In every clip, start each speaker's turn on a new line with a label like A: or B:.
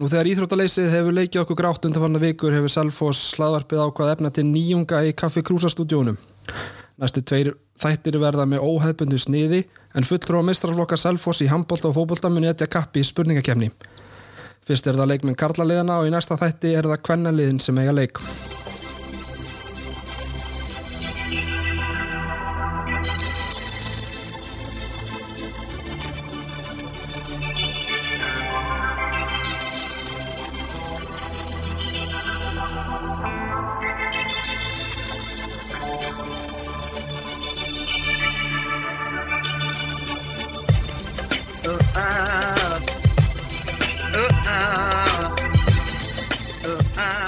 A: Nú þegar íþróttaleysið hefur leikið okkur grátt undanfarnar vikur hefur Selfoss hlaðvarpið ákvað efna til nýjunga í kaffi krúsastúdjónum. Næstu tveir þættir verða með óhefbundu sniði en fulltrú á mistralflokka Selfoss í handbólta og fótbólta muni etja kappi í spurningakefni. Fyrst er það leikminn karlaliðana og í næsta þætti er það kvennaliðin sem eiga leik.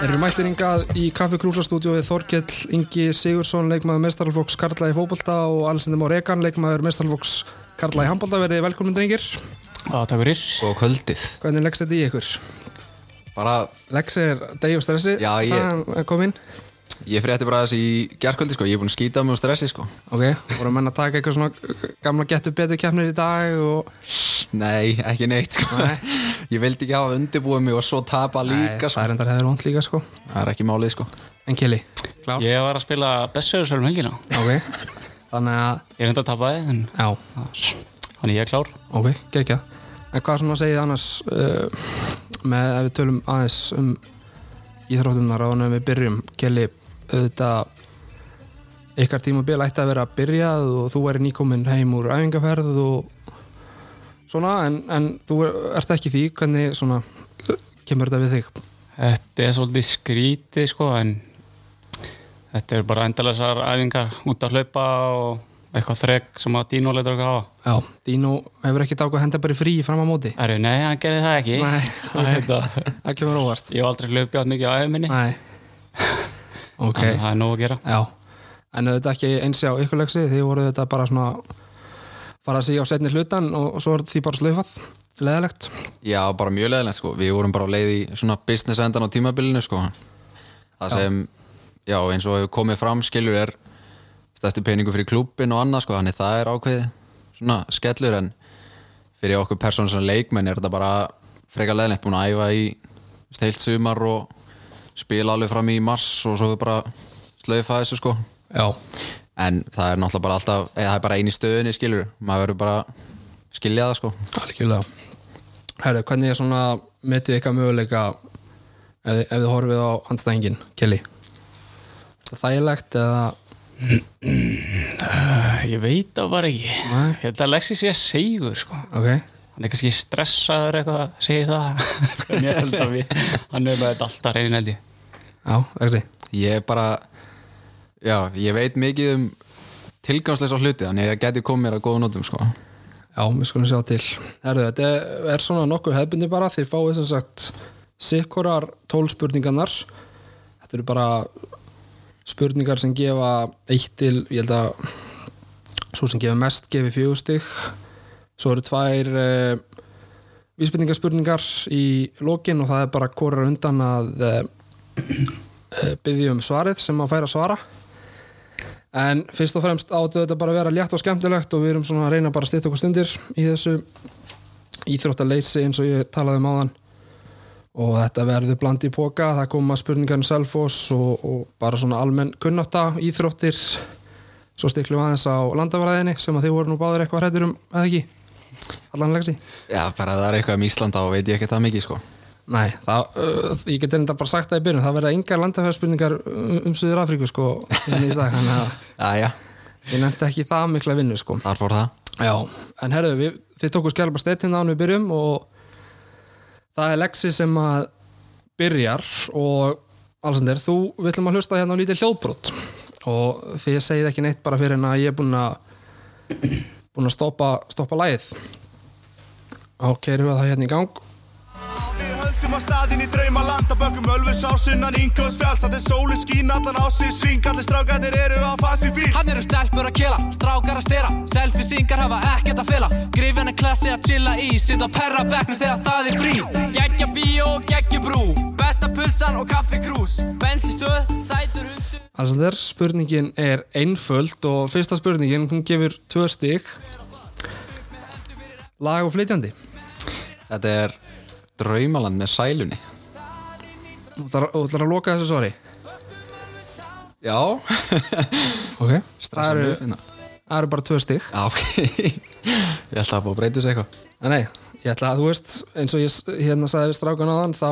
A: Erum mættir yngað í Kaffi Krúsastúdíu við Þorkell Ingi Sigursson, leikmaður mestaralflóks Karla í fótbolta og Alessandr Már Egan, leikmaður mestaralflóks Karla í handbolta verðið velkomnum drengir.
B: Já, takk fyrir.
C: Svo kvöldið
A: Hvernig leggst þetta í ykkur?
C: Bara,
A: Leggst er degi og stressi,
C: Já, ég-
A: sagði hann kominn.
C: ég frétti bara þessi í gerkvöldi sko Ég er búin að skýta mig og stressi sko
A: Ok, voru menn að taka eitthvað svona gamla getur betur keppnir í dag og...
C: Nei, ekki neitt sko Ég vildi ekki hafa undirbúið mig og svo tapa líka
A: Nei,
C: sko
A: það er endar hefur hónd líka sko.
C: Það er ekki málið sko
A: En Kili, klár?
B: Ég var að spila Bessöðursvöld um helgina.
A: Ok, þannig að,
B: Ég reyndi að tapa þið, en
A: já,
B: þannig ég er klár.
A: ok, geggjað. En hvað svona segið þið annars uh, með ef við tölum aðeins um íþróttunar á en við byrjum, Kili, auðvitað ykkar tímabil ætti að vera að byrjað og þú væri nýkominn heim úr æfingaferð og svona, en, en þú er, ert ekki í því, hvernig svona uh, kemur þetta við þig?
B: Þetta er svolítið skrítið, sko, en þetta er bara endalasar æfingar út að hlaupa og eitthvað þrek sem að Dino letur okkur hafa.
A: Já, Dino hefur ekki dákað að henda bara í frí fram á móti
B: Erðu, nei, hann gerði það ekki.
A: Nei,
B: Það er þetta.
A: það kemur óvart
B: Ég hef aldrei hlaupið átt mikið á æfinni.
A: Nei Ok,
B: Þannig að það er nóg að gera.
A: já En auðvitað ekki eins á ykkurlegsi því voru þetta bara svona fara að sig á setni hlutan og svo er því bara slöfað leðilegt
C: Já, bara mjög leðilegt sko Við vorum bara á leið í svona business endan á tímabilinu sko Það sem, já, eins og hefur komið fram skilur er stærsti peningur fyrir klúbbin og annað sko Þannig það er ákveðið svona skellur en fyrir okkur persónu sem leikmenn er þetta bara frekar leðilegt búin að æfa í þú veist, heilt sumar og spila alveg fram í mars og svo bara slöfa þessu sko
A: Já,
C: en það er náttúrulega bara alltaf eða það er bara einu stöðunni skilur maður verður bara að skilja það sko
A: algjörlega Herru, hvernig er svona metið ykkar möguleika ef, þið- ef þið horfið á andstæðingin, Kelly Þægilegt eða
B: Ég veit það bara ekki.
A: Nei.
B: Ég held að Lexi sé seigur, sko.
A: Ok,
B: hann er kannski stressaður eitthvað segir það en ég held að við hann er með þetta alltaf reyn held ég
A: já, ekki
C: ég er bara já, ég veit mikið um tilgangsleisa hluti þannig að ég geti komið mér að góða nótum sko
A: Já, við skulum sjá til. Herðu, þetta er- er svona nokkuð hefbundi bara, þið fáið sem sagt sikkorar tólspurningarnar. Þetta eru bara spurningar sem gefa eitt til, ég held að svo sem gefa mest gefi fjögustig. Svo eru tvær uh, vísbendingarspurningar í lokin og það er bara korar undan að uh, byggja um svarið sem að færa að svara. En fyrst og fremst áttu þetta bara að vera létt og skemmtilegt og við erum svona að reyna bara að stýta okkur stundir í þessu íþróttaleysi eins og ég talaði um áðan og þetta verður bland í póka, það koma spurningar um Selfoss og, og bara svona almenn kunnáta, íþróttir svo stiklum við aðeins á landafræðinni sem að þið voru nú báður eitthvað hrættur um eða ekki, allan legsi
C: já, bara það er eitthvað um Íslanda og veit ég ekki það mikið sko
A: Nei, það, uh, ég geti enda bara sagt það í byrjun það verða engar landafræðspurningar um, um Suður Afríku sko, inn í dag, þannig að
C: já, já,
A: ég nefndi ekki það mikla vinnu sko
C: þar fór það
A: Já, en herðu, við, þið tókuð skjálpa stettinn án við byrjum og það er Lexi sem að byrjar og Alexander, þú við ætlum að hlusta hérna á lítið hljóðbrot og þið segið ekki neitt bara fyrir en að ég er búinn að búinn að stoppa, stoppa lægið Ok, erum við það hérna í gang
D: Við höldum að staðin í drauma landa Bökkum ölfus á sunnan Ingjóðs fjáls Allir sóli skín allan á sig sving Allir strákættir eru á fasi bíl
E: Hann eru stelpur að kela, strákar að stela Selfie-syngar hafa ekkert að fela Grifjan er klassi að chilla í Sitt á perra bekknum þegar það er frí Geggja bíó og geggja brú Besta pulsan og kaffi krús Bensistöð, sætur hundur
A: Alexander, spurningin er einföld og fyrsta spurningin, hún gefur tvö stig Lag og flytjandi
C: þetta er draumaland með sælunni
A: Þú ætlar þú ætlar að loka þessu svari
C: Já,
A: Ok Það
C: stressar
A: eru,
C: mjög hérna. finna
A: það eru bara tvö stig
C: Já, ok Ég ætla að búið að breyta þessu eitthvað
A: En nei, ég ætla að þú veist eins og ég s- hérna sagði við strákan á þann þá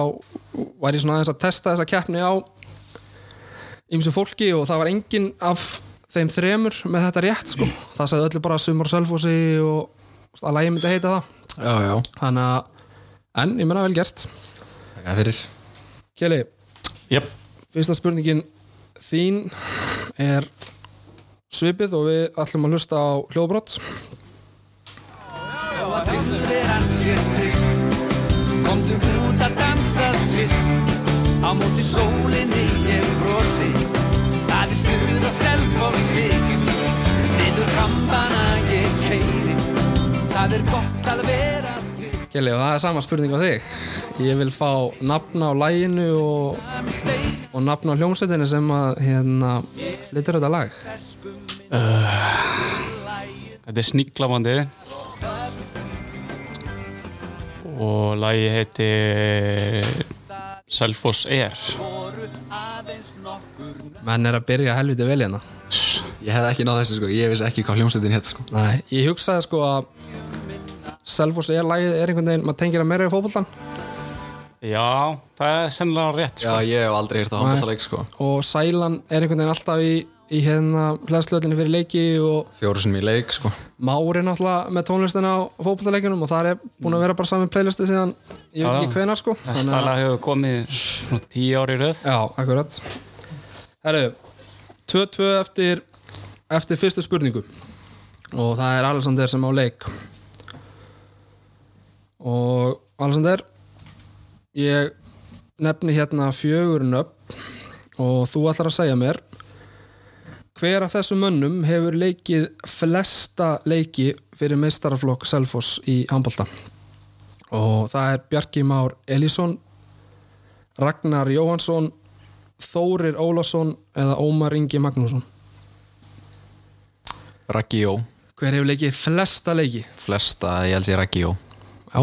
A: var ég svona aðeins að testa þessa keppni á ymsu fólki og það var engin af þeim þremur með þetta rétt sko það sagði öllu bara sumar sölfósi og að lægi myndi heita það
C: Já, já
A: þannig að, en ég menna vel gert
C: Takk að fyrir
A: Kjeli,
B: Jöp,
A: fyrsta spurningin þín er svipið og við ætlum að hlusta á hljóðbrott
E: Þegar hann sér trist Komdu brút að dansa trist Á móti sólinni ég brosi Það er stuð að selva og sig Niður rampana ég keiri Það er gott að vera þig
A: Kjeli, og það er sama spurning á þig ég vil fá nafna á læginu og,
E: I'm staying
A: og nafna á hljómsveitinu sem að hérna, flyttur þetta lag
B: þetta er sníklamandi og lagi heitir Selfoss Air
A: menn er að byrja helviti vel hérna
C: Ég hefði ekki náð þessu sko, ég vissi ekki hvað hljómsveitin hétt sko
A: Nei, ég hugsaði sko að Selfoss er lagið er einhvern veginn maður tengir að meira í fótboltan
B: Já, það er sennilega rétt
C: Já,
B: sko.
C: ég hef aldrei hýrt að handbóltaleik sko
A: og Sælan er einhvern veginn alltaf í, í hérna hlæðslöðlinni fyrir leiki og
C: Fjóru sinni í leik sko
A: Mári náttúrulega með tónlistina á fótbollarleikunum og það er búin að vera bara saman playlisti síðan ég veit ekki
B: Já.
A: hvenar sko
B: Þetta lag hefur komið svona tíu ári í röð
A: Já, akkurat Herru, 2-2 eftir eftir fyrstu spurningu og það er Alexander sem á leik og Alexander ég nefni hérna fjögurinn upp og þú ætlar að segja mér hver af þessum mönnum hefur leikið flesta leiki fyrir meistaraflokk Selfoss í handbolta og það er Bjarki Már Elísson Ragnar Jóhansson Þórir Ólásson eða Ómar Ingi Magnússon
C: Raggi Jó,
A: Hver hefur leikið flesta leiki?
C: flesta, ég held sér Raggi Jó
A: Já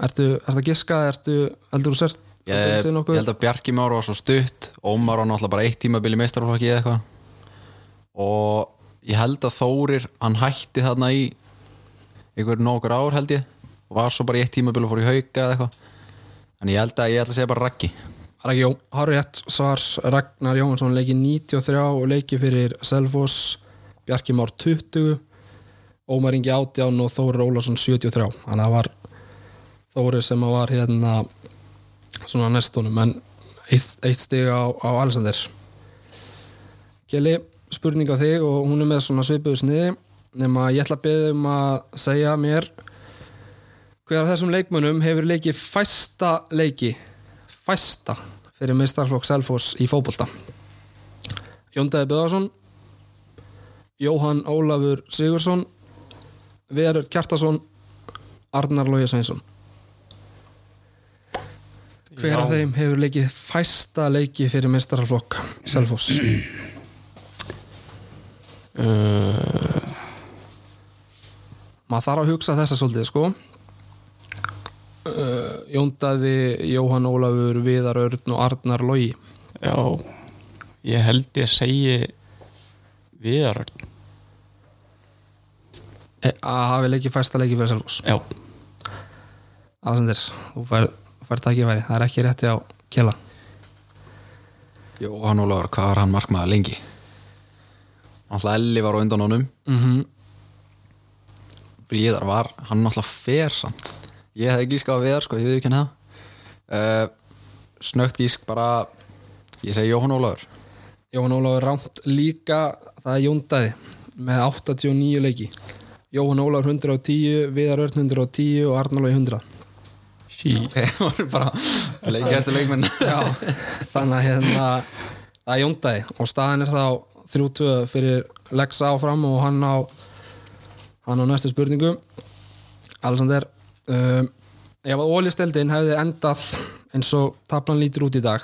A: Ertu, ertu að giska, ertu heldur þú sért
C: Ég, ég held að Bjarki Már var svo stutt Ómar var náttúrulega bara eitt tímabil í meistarflokki eða eitthvað og ég held að Þórir hann hætti þarna í einhver nokkur ár held ég og var svo bara í eitt tímabil og fór í hauka eða eitthvað en ég held að ég held að segja bara Raggi
A: Raggi Jó, Harriett svar Ragnar Jóhansson leikið 93 og leikið fyrir Selfoss Bjarki Már 20 Ómar Ingi 18 og Þórir Ólásson 73 þannig að það var Þórir sem að var hérna svona næstunum en eitt, eitt stig á, á Alexander Kjeli, spurning á þig og hún er með svona svipuðu sniði nema ég ætla að beða um að segja mér hver af þessum leikmönnum hefur leikið fæsta leiki fæsta fyrir meistarflokk Selfoss í fótbolta Jóndaði Böðarsson Jóhann Ólafur Sigursson Verur Kjartason Arnar Lója Sveinsson Hver af þeim hefur leikið fæsta leiki fyrir meistarflokk Selfoss Maður þarf að hugsa þessa svolítið sko Jóndaði Jóhann Ólafur Viðar Örn og Arnar Lóji
B: Já, ég held ég segi Viðaröld
A: E, að hafi leikið fæsta leiki fyrir Selfoss
B: Já,
A: Alessandir, þú fær, fær takkifæri það er ekki rétti á kjela
C: Jóhann Ólafur, hvað var hann markmaður lengi? Náttúrulega Elli var á undan honum
A: mm
C: Viðar var, hann náttúrulega fer samt ég hefði gísk á Viðar sko, ég við ekki það uh, snögt gísk bara ég segi Jóhann Ólafur
A: Jóhann Ólafur rámt líka það er Jóndaði með 89 leiki Jóhann Ólafur 110, Viðar Örn 110 og Arnar Lóji 100
B: sí
C: Þeir voru bara leikjæstu leikmenn
A: Já, þannig að hérna það er Jóndaði og staðan er þá 3-2 fyrir Lexa áfram og hann á hann á næstu spurningu Alexander um, ef að óljusteldin hefði endað eins og tablan lítur út í dag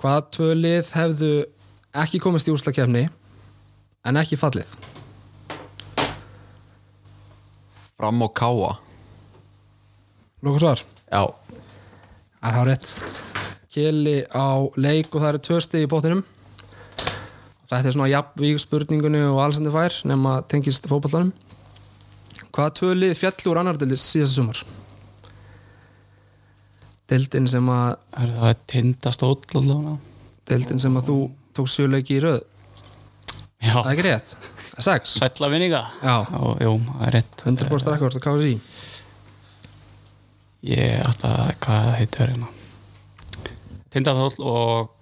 A: hvað tvö lið hefðu ekki komist í úrslakefni en ekki fallið
C: Fram og Káa
A: Lóka svar
C: Já,
A: Það er hár rétt Kili á leik og það eru tvö stig í bóttinum Þetta er svona jafnvík spurningunni og allsendir fær nema tengist fótballanum Hvaða tvö lið fjallu úr annar deildir síðasta sumar? Deildin sem að
B: Er það að tindast óll allavega?
A: deildin sem að þú tók sjöleiki í röð
B: Já,
A: Það er ekki rétt Það er sex
B: sætla vinninga.
A: Já.
B: Ó, Jú, það er rétt.
A: 100% rekord að káða sí
B: Ég ætla að, hvað það heitir hérna? Tindast óll og...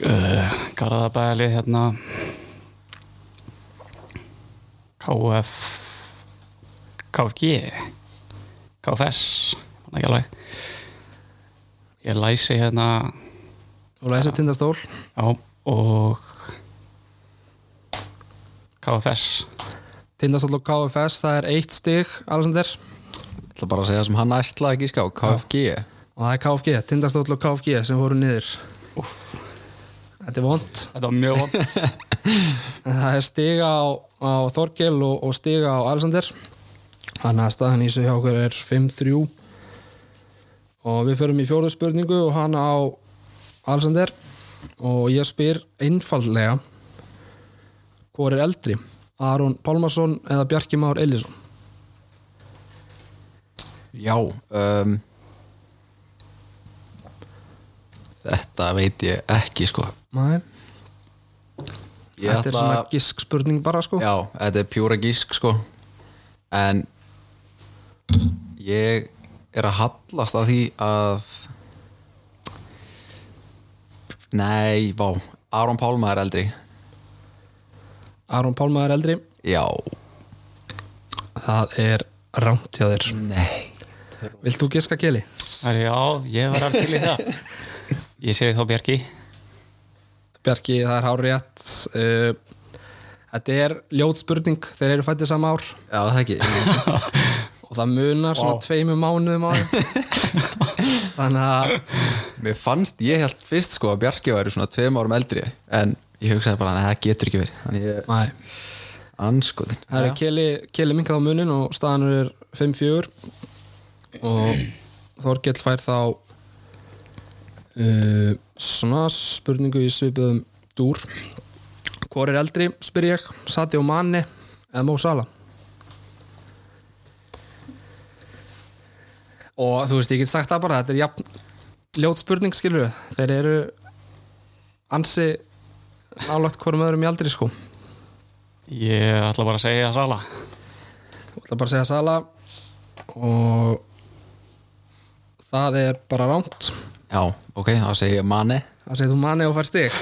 B: Uh, Garðabæli hérna... KF... KFG? KFS? Man ekki alveg. Ég læsi hérna...
A: Og læsa tindastól
B: Já, og KFS
A: Tindastól og KFS það er eitt stig Alexander
C: ég ætla bara að segja sem hann ætlaði ekki sko, ská KFG
A: og það er KFG Tindastóll og KFG sem voru niður Þetta er vond
B: Þetta var mjög vond
A: En það er stiga á, á Þorgil og, og stiga á Alexander Þannig að staðan í þessu hjá okkur er 5-3 og við förum í fjóðu spurningu og hann á Alexander og ég spyr einfaldlega hvor er eldri? Aron Pálmarsson eða Bjarki Már Elísson?
C: Já um, Þetta veit ég ekki sko
A: Nei, þetta
C: Ég
A: er
C: ætla
A: svona gisk spurning bara sko
C: Já, þetta er pjúra gísk sko En Ég er að hallast að því að Nei, vá Aron Pálma er eldri
A: Aron Pálma er eldri
C: Já
A: Það er rámt hjá þér
C: Nei
A: Vilt þú giska keli?
B: Það er já, ég var alveg til í það Ég segi þá Bjarki
A: Bjarki, það er hár rétt uh, Þetta er ljót spurning þeir eru fættið sama ár
C: Já, það ekki
A: og það munar svona tveimur mánuðum á þeim þannig að
C: Mér fannst, ég held fyrst sko að Bjarki væri svona tveim árum eldri En ég hugsaði bara, nei, það getur ekki verið Þannig ég
A: Nei.
C: anskotin
A: það er keli, keli minkað á munin og staðan er 5-4 og Þorgell fær þá uh, svona spurningu í svipuðum dúr Hvor er eldri, spyr ég Sati og Manni eða Mó Sala og þú veist, ég get sagt það bara þetta er jafn ljót spurning, skilur þeir eru ansi nálagt hvorum öðrum í aldri sko
B: Ég ætla bara að segja Sala
A: Ég ætla bara að segja Sala og það er bara rámt
C: Já, ok, þá segi ég manni
A: það segir þú manni og fær stig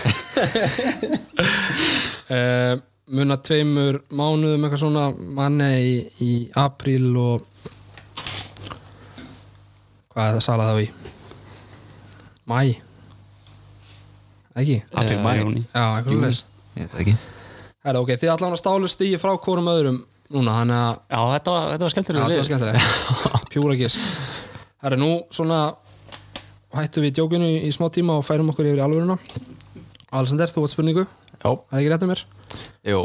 A: uh, muna tveimur mánuðum eitthvað svona manni í, í apríl og hvað er það Sala þá í? Mæ ekki?
C: Apríl, maí.
B: Júní.
A: Já, eitthvað leys
C: Ég veit það ekki
A: Það er ok, þið allan að stálu stíi frá hvorum öðrum núna, hann að
B: Já, þetta var, þetta var
A: Já,
B: skemmtilega
A: þetta var skemmtilega Pjúra gísk Það er nú svona hættum við djókinu í smá tíma og færum okkur yfir í alvöruna Alexander, þú átt spurningu Það
C: Já,
A: er ekki rétt um mér
C: jú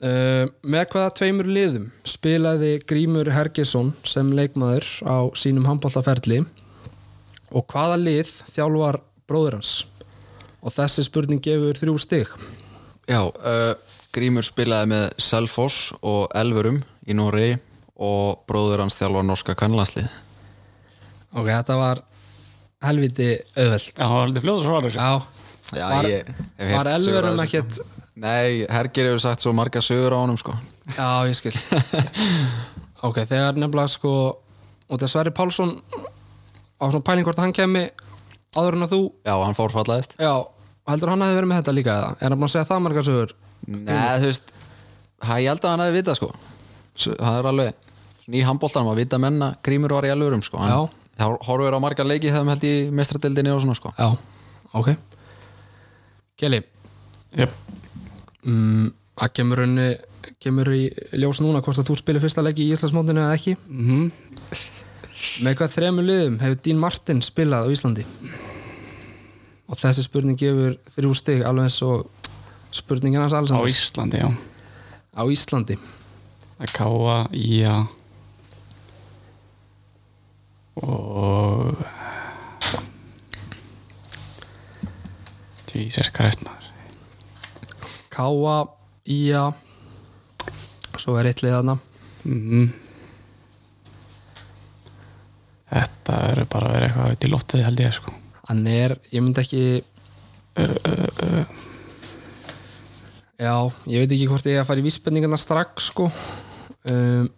A: uh, Með hvaða tveimur liðum spilaði Grímur Hergesson sem leikmaður á sínum handbóltaferli og hvaða lið þjálfar bróður hans og þessi spurning gefur þrjú stig
C: Já, uh, Grímur spilaði með Selfoss og Elverum í Noregi og bróður hans þjálfa norska kannlandslið
A: Ok, þetta var helviti auðvelt
B: Já, það var aldrei fljóður svara þessu
A: Já,
C: Já,
A: var,
C: ég hef
A: var
C: heyrt sögur af
A: elverum
C: þessu,
A: ekkert
C: Nei, Herger hefur sagt svo marga sögur á honum sko
A: Já, ég skil Ok, þegar nefnilega sko og þegar Sverri Pálsson á svona pæling hvort hann kemi áður en að þú,
C: Já, hann fórfallaðist
A: já, heldur hann að verið með þetta líka eða? Er hann búin að segja það margar sögur?
C: Nei, þú veist, hæ, ég held að hann hefði vitað sko S- Það er alveg svona í handbóltanum að vita menna Grímur var í Elverum sko
A: Já.
C: hann, Já Horfur á marga leiki hefðum held í mestradeldinni og svona sko
A: Já, ok Kelly,
B: Jöp,
A: mm, að kemur henni kemur í ljós núna hvort að þú spilir fyrsta leiki í Íslandsmóndinu eða ekki Með hvað þremur liðum hefur Dín Martin spilað á Íslandi? Og þessi spurning gefur þrjú stig alveg eins og spurningin hans
B: á
A: Alessanders
B: Íslandi, já
A: á Íslandi
B: að káa í að og Jesus Christ maður
A: Káa, Ía Svo er eitt lið þarna
B: þetta eru bara að vera eitthvað út í loftið held ég sko
A: Hann er, ég myndi ekki Já, ég veit ekki hvort ég að fara í vísbendingarna strax sko um,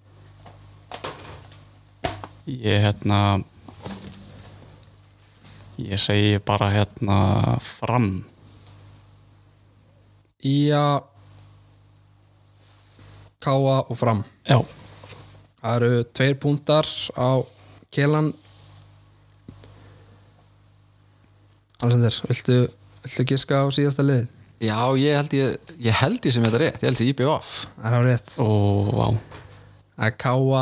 B: ég hérna ég segi bara hérna fram
A: Ía Káa og Fram
B: já,
A: Það eru tveir púntar á Kélan Alexander, viltu, viltu giska á síðasta liðið?
C: Já, ég held ég, ég held ég sem þetta rétt, ég held ég IBF
A: Það er á rétt
B: og vá
A: Það er Káa,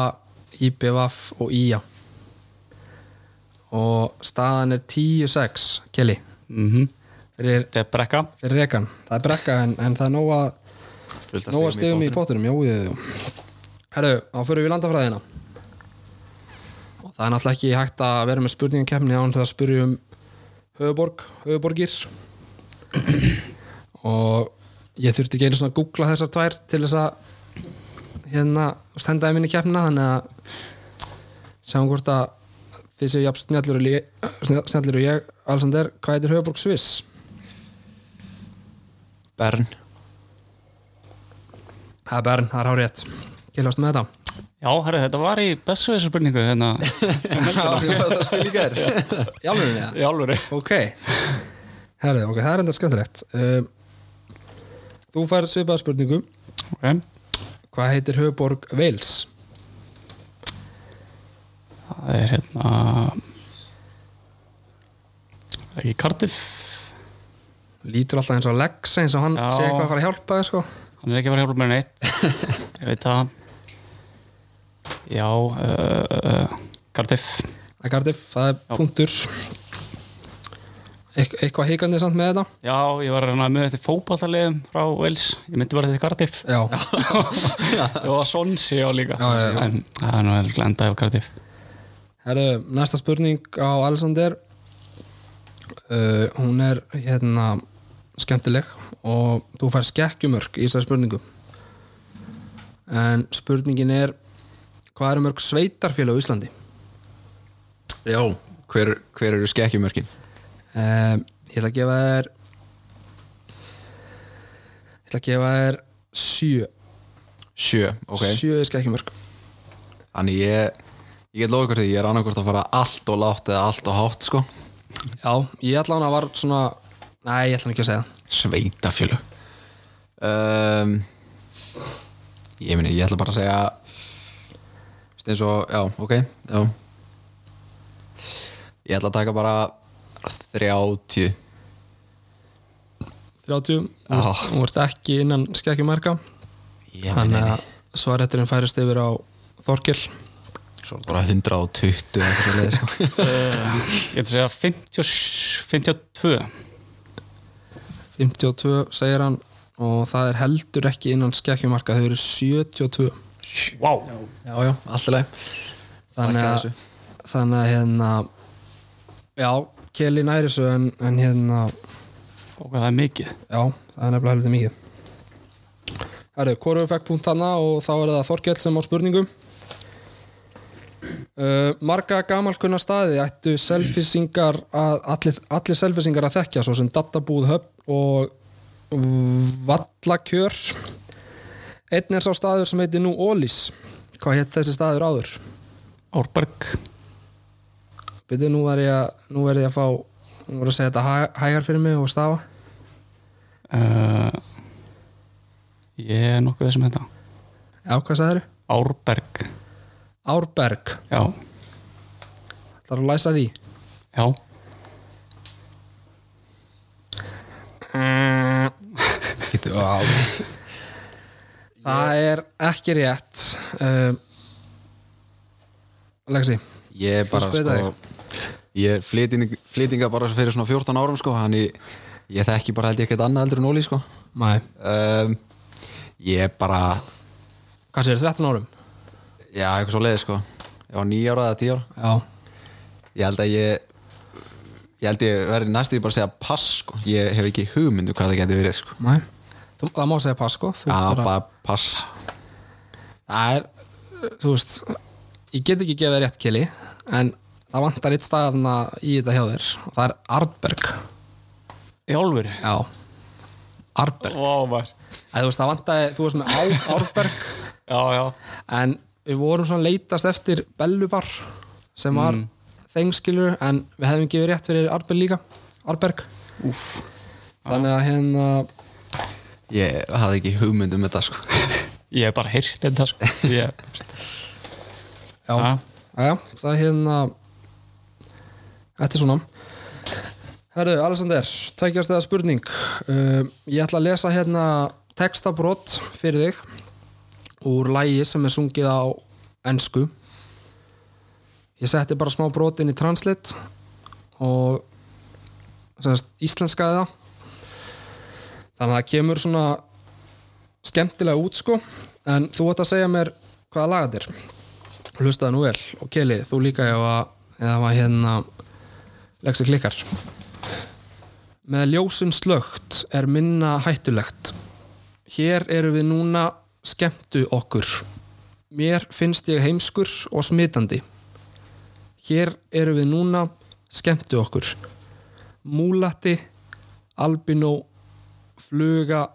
A: IBVF og Ía og staðan er 10-6 Kelly
B: mhm,
A: fyrir,
B: þetta er brekka
A: fyrir rekan það er brekka en, en það er nóg að nóg að stegum um í bóttunum jú, jú, jú. Herru, þá fyrir við í landafræðina og það er náttúrulega ekki hægt að vera með spurningakefni án þegar spyrjum höfuborg, höfuborgir og ég þurfti ekki einu svona að googla þessar tvær til þess að hérna stendaði minni keppnina þannig að sjáum hvort að þið séu jafn snjallur og, lé- snjall- snjallir og ég Alexander, hvað heitir höfuborg Sviss?
C: Bern,
A: Það er Bern, það er hárétt Kjellast með þetta
B: já, herri, þetta var í bestu þessu spurningu hérna,
A: Já, alveg það
B: í alvöru
A: Ok Herðu, ok, það er enda skemmtilegt um, Þú fær svipaða spurningu
B: ok,
A: Hvað heitir höfuborg Wales?
B: það er hérna er ekki Cardiff
A: Lítur alltaf eins og Lex eins og hann
B: Já.
A: segir hvað að fara að hjálpa þér sko
B: hann er ekki að fara að hjálpa mér neitt ég veit það já uh, uh, Cardiff
A: Það er Cardiff, það er punktur Eit- Eitthvað hikandi samt með þetta
B: já, ég var hérna með þetta fótballtalegum frá Wales, ég myndi bara þetta Cardiff
A: Já,
B: og Sonsi á líka
A: Já, já, já.
B: en það er nú örugglega endaði á Cardiff
A: herðu, næsta spurning á Alexander uh, Hún er hérna skemmtileg og þú fær skekkjumörk í þessari spurningu En spurningin er Hvað eru mörg sveitarfélag á Íslandi?
C: já hver, hver eru skekkjumörkin?
A: um, Ég ætla að gefa þér Ég ætla að gefa þér sjö
C: Sjö, ok
A: Sjö er skekkjumörk
C: Þannig ég, ég get lofa ykkur því, ég er annarkvort að fara allt og látt eða allt og hátt sko
A: Já, ég ætla hann að var svona Nei, ég ætla hann ekki að segja það.
C: Sveitafjölu um, Ég meni, ég ætla bara að segja veist eins og, já, ok já. Ég ætla að taka bara 30
A: 30, hún
C: Já.
A: vart- hún vart ekki innan skekkjumörka
C: Ég
A: Þannig að svarætturinn færist yfir á Þorkil
C: Svo bara 120 eða eitthvað svoleiðis, sko.
B: ég ætla að segja 50, 52
A: 52 segir hann og það er heldur ekki innan skekkjumarka þau eru 72
B: wow,
C: Já, já, alltaf leið
A: þannig
C: Þakka
A: að,
C: þessu.
A: þannig að hérna já, Kelly næri þessu en, en hérna
B: og það er mikið
A: Já, það er nefnilega helviti mikið Herru, Kóru fekk punkt hana og þá er það Þorkell sem á spurningu uh, Marga gamalkunna staði ættu selfisingar að, allir, allir selfisingar að þekkja svo sem databúð höfn og vallakjör Einn er sá staður sem heitir nú Ólís Hvað hétt þessi staður áður?
B: Árberg,
A: Byrju, nú verð ég að, nú verð ég að fá nú verð ég að segja þetta hæ- hægar fyrir mig og stafa
B: uh, ég er nokkuð þessum þetta
A: Já, hvað sagðirðu?
B: Árberg,
A: Árberg,
B: já
A: það er að læsa því
B: já,
C: Getur, á,
A: Það er ekki rétt um, Lexi
C: Ég er
A: Þú
C: bara
A: spyrir
C: sko Ég er flyting, flytinga bara fyrir svona 14 árum sko Þannig ég þekki bara held Ehm, ég ekkert annað heldur en Óli sko
A: Mæ
C: um, Ég er bara
A: hvað sér, 13 árum
C: já, eitthvað svo leiði sko ég var nýja ára eða tíu ára
A: já,
C: ég held að ég ég held ég verði næstu ég bara að segja pass sko ég hef ekki hugmyndu hvað það geti verið sko
A: næ Þú- það má segja pass sko Þú
C: já,
A: bara-
C: bara pass
A: það er, uh, þú veist ég get ekki gefið þér rétt kili en það vantar eitt stafna í þetta hjá þér og það er Arberg
B: Í álfur?
A: já, Arberg
B: Vá, maður.
A: Æ, þú veist, það vantaði, þú veist með Á Arberg
B: Já, já.
A: en við vorum svona leitast eftir Bellubar sem var mm. þengskilur en við hefðum gefið rétt fyrir Arberg líka Arberg Úf. þannig að hérna
C: ég hafði ekki hugmyndu með þetta sko
B: Ég hef bara heyrt þetta, sko. Ég,
A: já,
B: Ha?
A: já, það er hérna þetta er svona Herru, Alexander, tækjast eða spurning uh, ég ætla að lesa hérna textabrot fyrir þig úr lægi sem er sungið á ensku ég setti bara smá brot inn í Translate og semast, íslenskaði það þannig að það kemur svona skemmtilega út sko en þú ætti að segja mér hvaða laga þetta er hlustaði nú vel og Keli, þú líka ef að eða var hérna leggsi klikkar með ljósin slögt er minna hættulegt hér eru við núna skemmtu okkur mér finnst ég heimskur og smitandi hér eru við núna skemmtu okkur múlati albinó fluga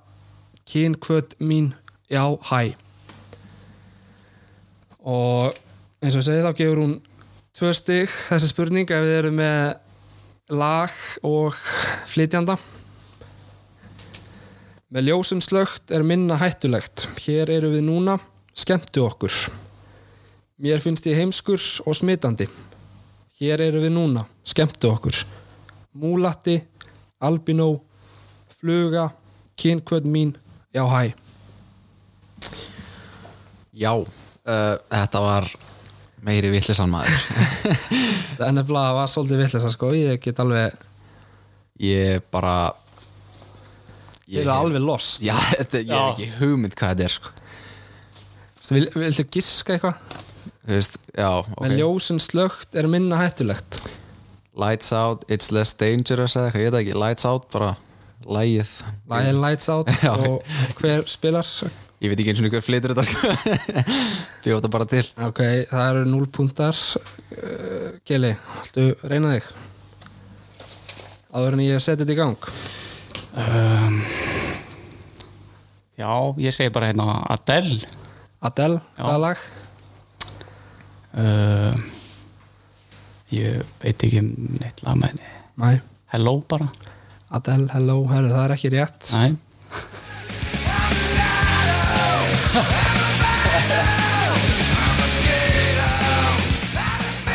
A: kynkvöt mín já hæ og eins og ég segi þá gefur hún tvö stig þessi spurning ef þið eru með lag og flytjanda með ljósum slögt er minna hættulegt hér eru við núna, skemmtu okkur mér finnst ég heimskur og smitandi hér eru við núna, skemmtu okkur múlatti, albinó fluga, kynkvöld mín já hæ,
C: já, uh, þetta var meiri villisann maður
A: það er nefnilega var svolítið vitlesa sko, ég get alveg
C: ég bara
A: ég er alveg lost
C: já, þetta, ég hef
B: Já.
C: ekki hugmynd hvað þetta er sko
A: Veistu, Vil, viltu giska eitthvað?
C: þú veist, já, ok
A: Með ljósin slögt er minna hættulegt
C: lights out, it's less dangerous eða eitthvað, ég veit það ekki, lights out bara lægið,
A: Læði lights out
C: Já.
A: og hver spilar
C: ég veit ekki eins og hver flytur þetta sko bjóð þetta bara til
A: Ok, það eru 0 púntar Kili, viltu reyna þig? Áður en ég seti þetta í gang
B: Eh, já, ég segi bara hérna Adele.
A: Adele,
B: Já.
A: hvaða lag?
B: Uh, ég veit ekki um neitt lag með henni.
A: Nei
B: Hello bara.
A: Adele, hello, herru, það er ekki rétt
B: Nei.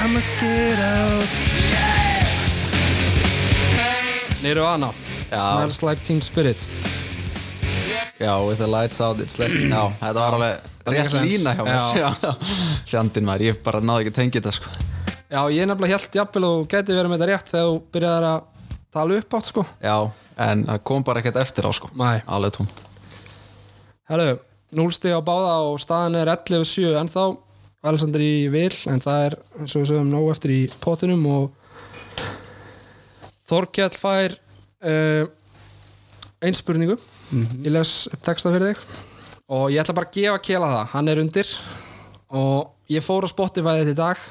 A: I'm a scared Nirvana Smells like teen spirit
C: já, with the lights out, it's less já, Mm. þetta var alveg
A: Það
C: rétt
A: makes sense.
C: lína hjá mér
A: Já.
C: Já. hljandin maður, ég bara náði ekki að tengja þetta sko
A: Já, ég nefnilega held jafnvel að þú gæti verið með þetta rétt þegar þú byrjaðir að tala upp átt sko
C: já, en það kom bara ekkert eftir á sko
A: Nei.
C: alveg tómt
A: Herru, núlstig á báða og staðan er 11-7 ennþá Alexander í vil en það er eins og við sögum nóg eftir í potunum og Þorkjall fær uh, einspurningu ég les upp texta fyrir þig og ég ætla bara að gefa Kela það hann er undir og ég fór á Spotify þetta í dag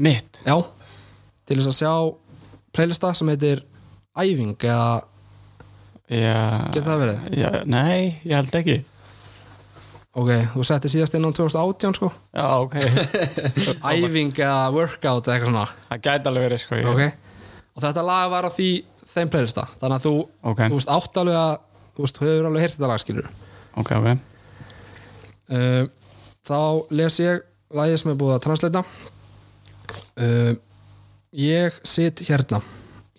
B: Mitt.
A: Já, til þess að sjá playlista sem heitir Æfing eða
B: Já.
A: getur það verið?
B: Já, nei, ég held ekki.
A: Ok, þú setti síðast inn á 2018 sko
B: Já, ok.
A: Æfing eða workout eða eitthvað svona
B: Það gæti alveg verið, sko. Ég.
A: Ok, og þetta lag var á því þeim playlista, þannig að þú
B: Ok.
A: þú veist átt alveg að, þú veist, þú hefur alveg heyrt þetta lag skilur
B: Ok, ok.
A: uh, þá les ég lagið sem er búið að translita uh, ég sit hérna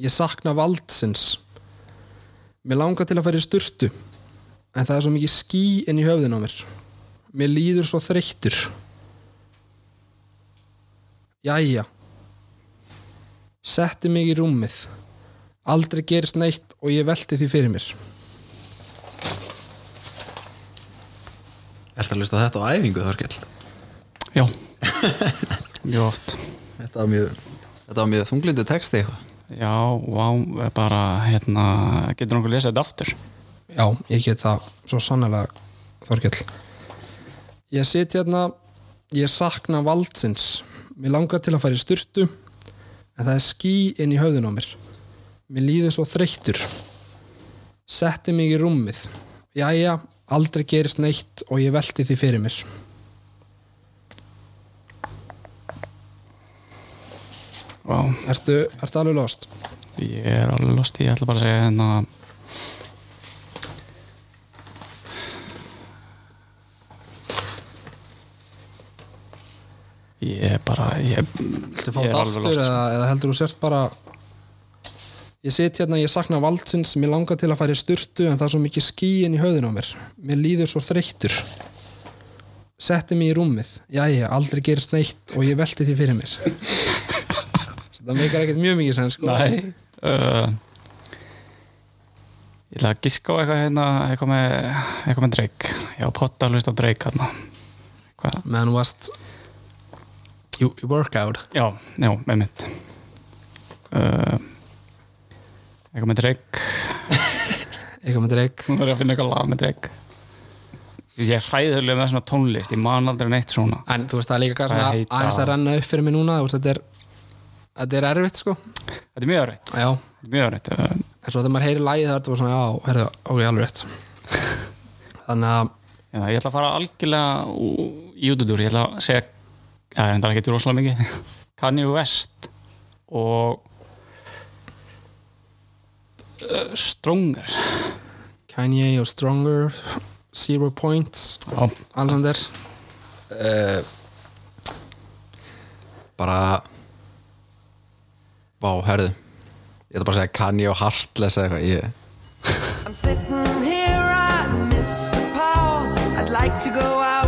A: ég sakna valdsins mér langar til að fara í sturtu en það er svo mikið ský inn í höfðin á mér mér líður svo þreyttur jæja setti mig í rúmið aldrei gerist neitt og ég velti því fyrir mér
C: Ertu að lusta þetta á æfingu Þorkell?
B: Já, mjög oft
C: Þetta var mjög, þetta var mjög þunglindu texti eitthvað.
B: Já, vá, er bara hérna, getur nokkuð lesið þetta aftur
A: Já, ég get það svo sannlega Þorkell Ég sit hérna Ég sakna valdsins Mér langar til að fara í styrtu En það er ský inn í höfðun á mér Mér líður svo þreyttur Setti mig í rúmið Jæja, aldrei gerist neitt Og ég velti því fyrir mér
B: Vá,
A: Ertu, ertu alveg lost?
B: ég er alveg lost Ég ætla bara að segja hérna Ég er bara Ég,
A: Ertu fátt
B: ég er alveg
A: aftur
B: lost sko.
A: eða, eða heldur þú sért bara Ég sit hérna, ég sakna valdsins Mér langar til að fara í sturtu En það er svo mikið skýin í höfðun á mér Mér líður svo þreyttur Setti mig í rúmið Jæja, aldrei gerist neitt og ég velti því fyrir mér Það meikar ekkert mjög mikið sem sko
B: Nei uh, Ég ætla að giska á eitthvað hérna eitthvað með, eitthvað með Drake Já, potta að hlusta á Drake hérna Hvað?
A: Menn varst You you work out
B: Já, já, með mitt uh, Eitthvað með Drake
A: Eitthvað með dreik
B: Nú er ég að finna eitthvað lag með Drake Ég er hræðurlega með svona tónlist Ég man aldrei neitt svona
A: En þú veist það er líka kannski
B: Hvað
A: að-
B: heita-
A: aðeins að renna upp fyrir mig núna þú veist, Þetta er, þetta er erfitt sko
B: Þetta er mjög rétt
A: Já,
B: Þetta er mjög rétt uh,
A: en svo þegar maður heyri lagið það er þetta bara svona, já, herðu, ok, alveg rétt þannig að,
B: já, Ég ætla að fara algjörlega ú- í útudur Ég ætla að segja Það er enda ekki rosalega mikið Kanye West og uh, Stronger
A: Kanye og Stronger Zero Points
B: Já,
A: Alexander,
C: Eh, Bara Vá, herðu Ég ætla bara að segja Kanye og Heartless eða eitthvað ég...
F: I'm sitting here, I miss the power. I'd like to go out,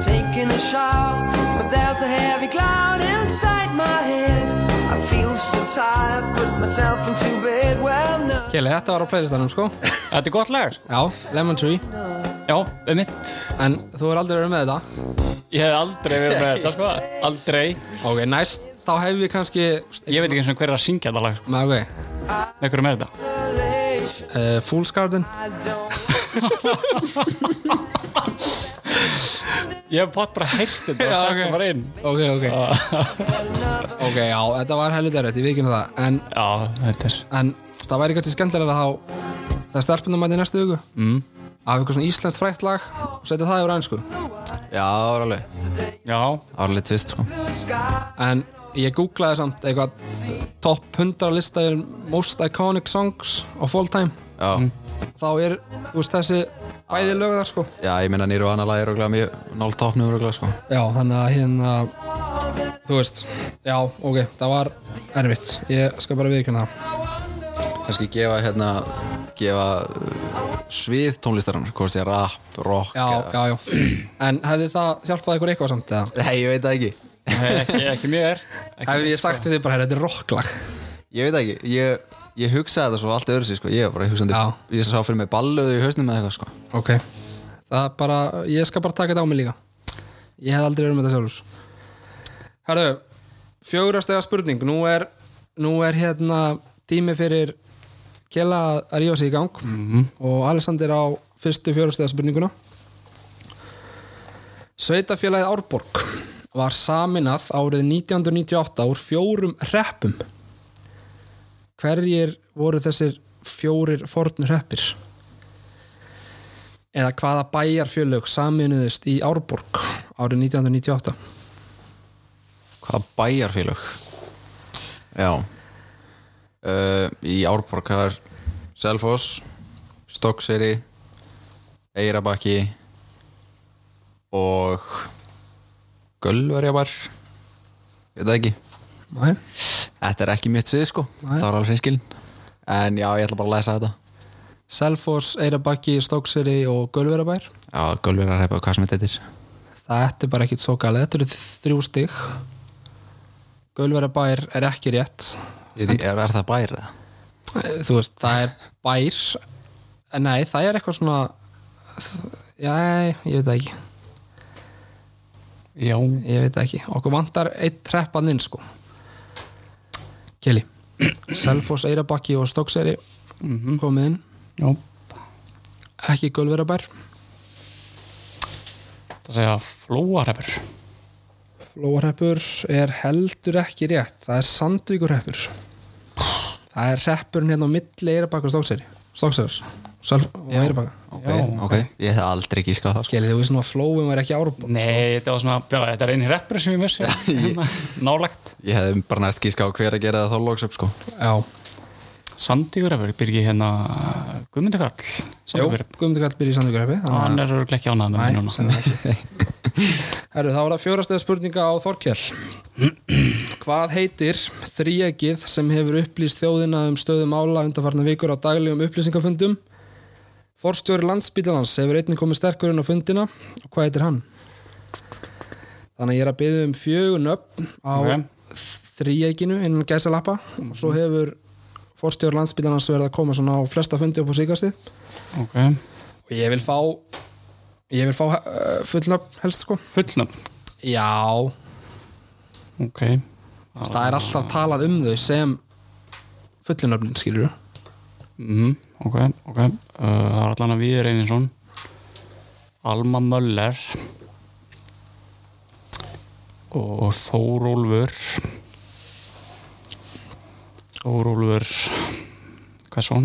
F: taking a shower, but there's a heavy cloud inside my head. I feel so tired, put myself into bed. Well, no.
A: Kjeli, þetta var á playlistanum sko
B: þetta er gott lag sko.
A: já, Lemon Tree,
B: Já, um mitt
A: en þú er aldrei verið með þetta
B: Ég hef aldrei verið með þetta sko Aldrei
A: ok, næst, þá hef ég kannski
B: Ég veit ekki eins og hver er að syngja þetta lag sko.
A: með, ok,
B: Með hverju með þetta
A: uh, Fool's Garden
B: Ég hef pott bara heyrt þetta og
A: Já,
B: sett
A: ok.
B: það bara inn
A: ok, ok
C: Ah.
A: ok, já, þetta var helvita rétt, ég vikinu það en,
B: Já, þetta er
A: en það væri kannski skemmtilega þá það er stelpunum að í næstu hugu mm. af eitthvað svona íslenskt frækt lag og setja það yfir einsku
C: Já, það var alveg
B: Já,
C: Það var alveg tvist sko.
A: en ég googlaði samt eitthvað top 100 lista er most iconic songs of all time
C: Já,
A: þá er, þú veist, þessi bæði lög þar sko
C: já ég meina Nirvana lag er okkur mjög Nól topnum okkur sko.
A: já, þannig að hérna þú veist, já, ok, það var erfitt, ég skal bara viðkynna það
C: Kannski gefa hérna Gefa uh, svið tónlistarinnar Hvort sé rap, rock
A: já,
C: eða-
A: já, já, en hefði það hjálpað ykkur eitthvað samt eða?
C: Nei, ég veit það ekki
B: Nei, ekki, ekki mér
A: hefði ég sagt við þið bara, "Heyrðu, þetta er rocklag
C: Ég veit það ekki Ég, ég hugsaði þetta svo allt öðru sér sko. Ég var bara hugsandi
A: Já.
C: Ég sá fyrir mig ballöðu í hausnum eða eitthvað sko.
A: ok, það er bara ég skal bara taka þetta á mig líka ég hef aldrei verið með þetta sjálfur herru, fjórastega spurning nú er, nú er hérna tími fyrir Kjela að- að rífa sig í gang og Alexander á fyrstu fjórastega spurninguna Sveitafélagið Árborg var saminað árið 1998 úr fjórum hreppum hverjir voru þessir fjórir fornur hreppir? eða hvaða bæjarfjölög saminuðist í Árborg árið 1998
C: Hvað bæjarfélög? Já uh, Í Árborg það er Selfoss Stokkseri Eirabakki Og Gölverjabar Ég veit það ekki
A: Nei.
C: Þetta er ekki mitt svið sko
A: Nei.
C: Það var alveg hinskilin En já, ég ætla bara að læsa þetta
A: Selfoss, Eirabakki, Stókseri og Gölverabær
C: Já, Gölverjarhæpa, hvað sem þetta er
A: það er bara ekkit svo galið, þetta eru þrjú stig Gölverabær er ekki rétt
C: Ég veit ekki, er, er það bær eða?
A: Eh, þú veist, það er bær Eh, nei, það er eitthvað svona já, ég veit það ekki
B: Já,
A: ég veit það ekki, okkur vantar eitt treppan inn sko Kelly Selfoss, Eirabakki og Stokkseri komið inn,
B: já
A: ekki Gölverabær
B: Það segja flóarhefur
A: Flóarheppur er heldur ekki rétt það er Sandvíkurheppur það er reppurinn hérna á milli Eirabakki og Stokkseri Stokkseri, Self og Eirabakka
C: ok, ok, ég hef aldrei gískað það sko.
A: Kelly, þú veist nú að flóum er ekki árbúð
B: Nei, þetta var svona, já, þetta er eini reppur sem Sko. ég vissi Hérna, Nálægt
C: ég hef bara næst gískað á hver að gera það þá loks upp sko.
A: Já,
B: Sandíkurhefur byrgi hérna Guðmundakarl
A: Jó,
B: Sandíkurhefur
A: Guðmundur Kall byrja í Sandvíkurheppi
B: Hann er örugglega ekki ánægð með mig
A: Nei,
B: núna
A: sennilega ekki. Herru, þá var það fjórastöða spurninga á Þorkjell Hvað heitir þríegið sem hefur upplýst þjóðina um stöðu mála undanfarnar vikur á daglegum upplýsingafundum Forstjóri landsbítalans hefur einnig komið sterkur inn á fundina og hvað heitir hann? Þannig að ég er að byggja um fjögur nöfn á
B: Ok.
A: okay. þríeginu innan gæsalappa og svo hefur forstjóri landsbítalans verið að koma svona á flesta fundi upp á síkastið
B: Ok,
A: og ég vil fá ég vil fá uh, fullnöfn helst sko
B: fullnöfn
A: já,
B: Ok,
A: það er alltaf talað um þau sem fullnöfnin skilur
B: mm, ok, ok uh, Það er allan að Viður Einarsson Alma Möller og Þórólfur Þórólfur hvað svo?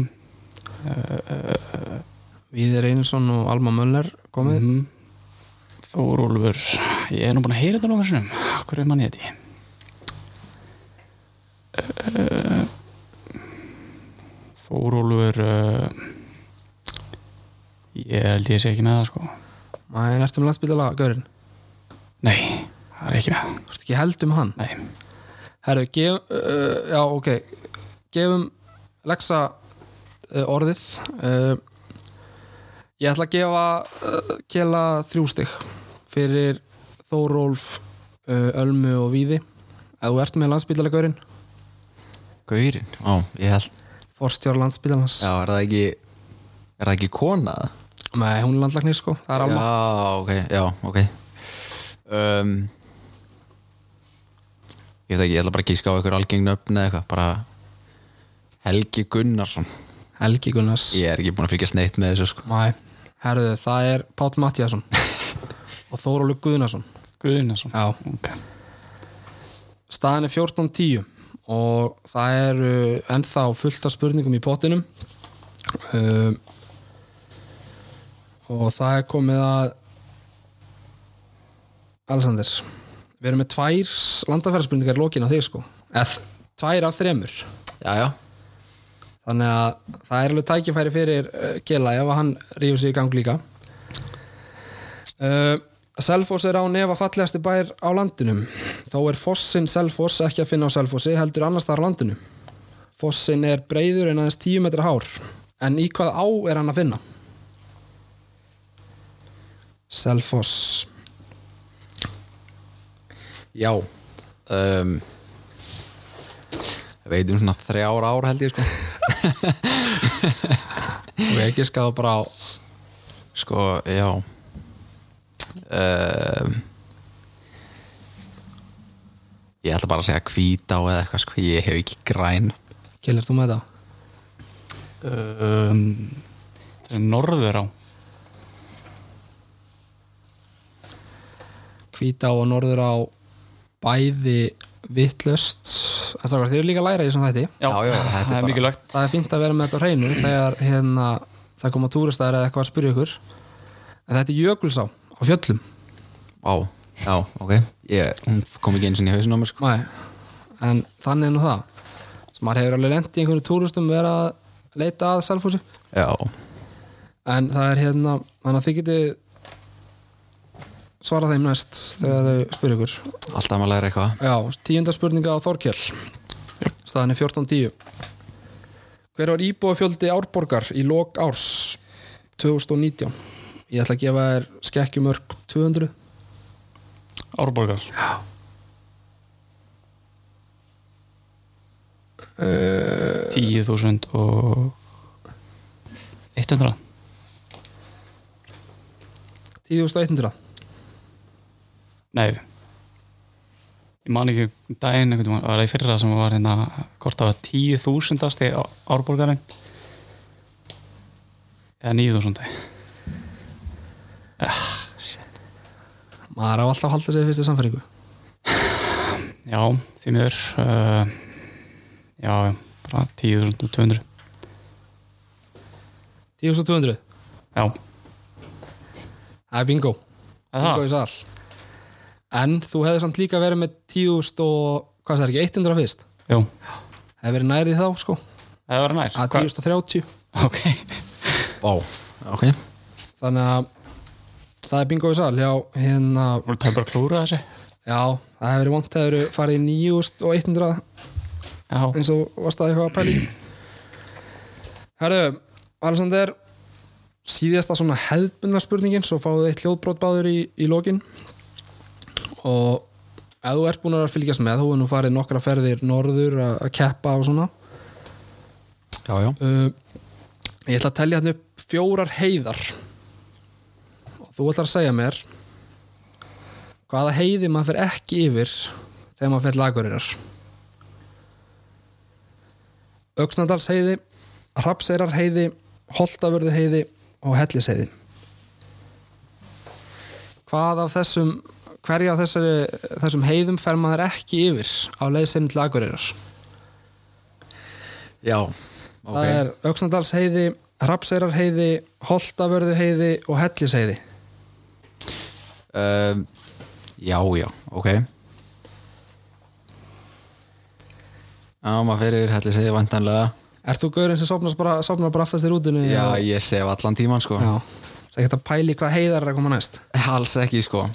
A: Viðir Einarsson og Alma Möller komið mm.
B: Þórólfur ég er nú búin að heyra þetta lóka sinum Hver er manni þetta? Eh, Uh, Þórólfur uh, ég held ég sé ekki með það sko
A: maður er eftir um landsbytala Gaurin,
B: Nei, það er ekki með
A: þú ert ekki held um hann
B: Nei,
A: herru, gef, uh, já ok gefum Lexa uh, orðið uh, ég ætla að gefa uh, Kela þrjú stig fyrir Þórólf uh, Ölmu og Víði að þú ert með landsbytala Gaurin
C: Gaurin, á, ég held
A: forstjóra landsbytalans
C: já, er það ekki er það ekki kona?
A: Nei, hún er landlagnir sko, það er amma
C: já, ok, já, ok um, ég veit ekki, ég ætla bara að gíska á einhver algeng nöfn eða eitthvað, bara Helgi Gunnarsson
A: Helgi Gunnars
C: ég er ekki búin að fylgjast neitt með þessu sko.
A: Nei, herðu, það er Páll Mattiasson og Þórólu Guðnason
B: Guðinarsson
A: Já,
B: Ok,
A: staðan er 14.10 og það eru ennþá fullt af spurningum í pottinum um, og það er komið að Alexander við erum með tvær landafæraspurningar lókin á þig sko eða tvær af þremur
C: já, já,
A: þannig að það er alveg tækifæri fyrir uh, Kela ef hann rífur sig í gang líka uh, Selfoss er án efa fallegasti bær á landinum þó er Fossin Selfoss ekki að finna á Selfossi heldur annars þar á landinu Fossin er breyður en aðeins 10 metra hár en í hvað á er hann að finna? Selfoss
C: já um, veitum svona þrjár ár held ég sko
A: og ég giskaði bara á
C: Sko, já um, Ég ætla bara að segja hvítá eða eitthvað sko, ég hef ekki græn
A: Kela, er þú með það?
B: um, það er norður á
A: Hvítá og Norður á bæði vittlust en það var þið eru líka að læra í þessum þætti
B: Já,
C: Já, já, þetta er
B: það er
C: bara-
B: mikilvægt
A: það er fínt að vera með þetta á hreinu þegar hérna, það koma túristæðar eða eitthvað að spyrja ykkur en þetta er jökulsá á fjöllum
C: Á, já, ok ég, Hún kom ekki eins og í hausinn á mér sko
A: Nei. en þannig er nú það sem maður hefur alveg lent í einhverju túristum vera að leita að selfhúsi
C: Já,
A: en það er hérna þannig að þið geti svara þeim næst þegar þau spyrja ykkur
C: alltaf maður læra eitthvað
A: Já, tíunda spurninga á Þorkjell staðan er 14.10 Hver var íbúafjöldi árborgar í lok árs 2019? Ég ætla að gefa þér skekkjumörk 200
B: Árborgar Tíu þúsund og 100
A: 10.100
B: Nei Ég man ekki um daginn einhvern veginn, var það í fyrra sem var hérna hvort það var 10.000 asti árborgarinn eða 9.000
A: maður á alltaf að halda sig í fyrstu samfæringu
B: Já, því miður uh, Já, já, bara 10.200
A: 10.200,
B: Já,
A: það er bingo
B: Er
A: bingo í
B: það,
A: sal en þú hefði samt líka verið með 10.000 og hvað það er ekki, 100 fyrst
B: jú,
A: það hefði verið nærið þá sko
B: það var nær
A: að
B: Hva-
A: 10.030
B: Ok,
C: Vá, ok
A: þannig að það er bingo í sal já, hérna,
B: voru það bara að klúra þessi
A: já, það hefði verið vant að það eru farið í 9.100
B: Já,
A: eins og varst það eitthvað að pæli Herðu, Alexander síðasta svona hefðbundna spurningin svo fáðu eitt hljóðbrot báður í, í lokin og ef þú ert búin að fylgjast með þú er nú farið nokkra ferðir norður að að keppa og svona
C: Já, já,
A: uh, ég ætla að tellja hann upp fjórar heiðar og þú ætlar að segja mér hvaða heiði maður fer ekki yfir þegar maður fer til lagurirar Öxnadals heiði Hrapseirar heiði Holtavörðu heiði og Hellis heiði hvað af þessum hverja af þessari, þessum heiðum fer maður ekki yfir á leið sinni til lagurirar
C: já
A: Það er Öxnadals heiði, Rapseirar heiði, Holtavörðu heiði og Hellis heiði.
C: um, Já, já, ok Já, maður fer yfir helli segja vantanlega
A: Ert þú gaurinn sem sopnar bara, sopnar bara aftast í rútinu?
C: Já, ég sef allan tíman sko
A: Já. Það er ekkert að pæli hvað heiðar er að koma næst.
C: Alls ekki sko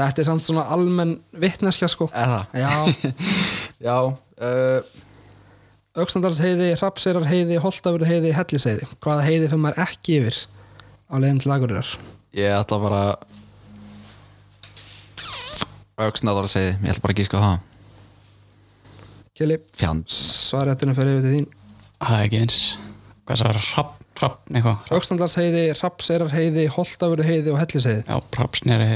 A: Þetta er samt svona almenn vitneskja sko.
C: Eða
A: Já,
C: Já, uh,
A: Öxnadals heiði, Rapseirar heiði, Holtavörðu heiði, Hellis heiði. Hvaða heiði fyrir maður ekki yfir á leiðin til Akureyrar?
C: ég ætla bara Öxnadal segði, ég ætla bara að gíska á það
A: Kili,
C: Fjans
A: svarjættinu fyrir yfir til þín.
B: það er ekki eins Hvað það var, hrafn, hrafn eitthvað
A: Öxnadals heiði, Rapseirar heiði, Holtavörðu heiði og Hellis heiði.
B: Já, hrafnsneri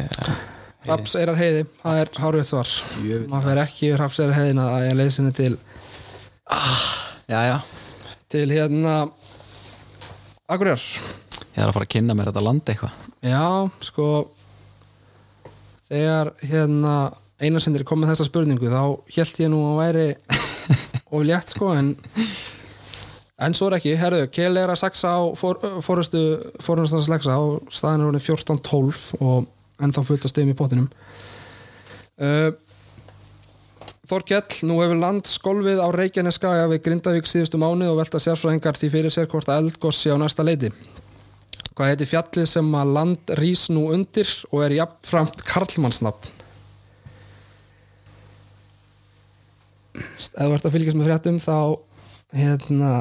A: Rapseirar heiði, það er hárið svar maður fer ekki yfir Rapseirar heiðina að ég leysinni til
C: Já, já
A: til hérna Akureyrar
C: Ég þarf að fara að kynna mér þetta land eitthvað
A: já, sko þegar hérna einarsendir kom með þessa spurningu þá hélt ég nú að væri of létt sko en en svo er ekki, herðu, Kjell er að saxa á for, fórustu, fórumstans leggsa á staðin er honum 14-12 og ennþá fullt að stegum í pottinum uh, Þorkell, nú hefur landskolfið á Reykjaneskaja við Grindavík síðustu mánuð og velta sérfræðingar því fyrir sér hvort að eldgoss sé á næsta leiti Hvað heiti fjallið sem að land rís nú undir og er jafnframt karlmannsnafn? Ef þú ert að fylgjast með fréttum þá hérna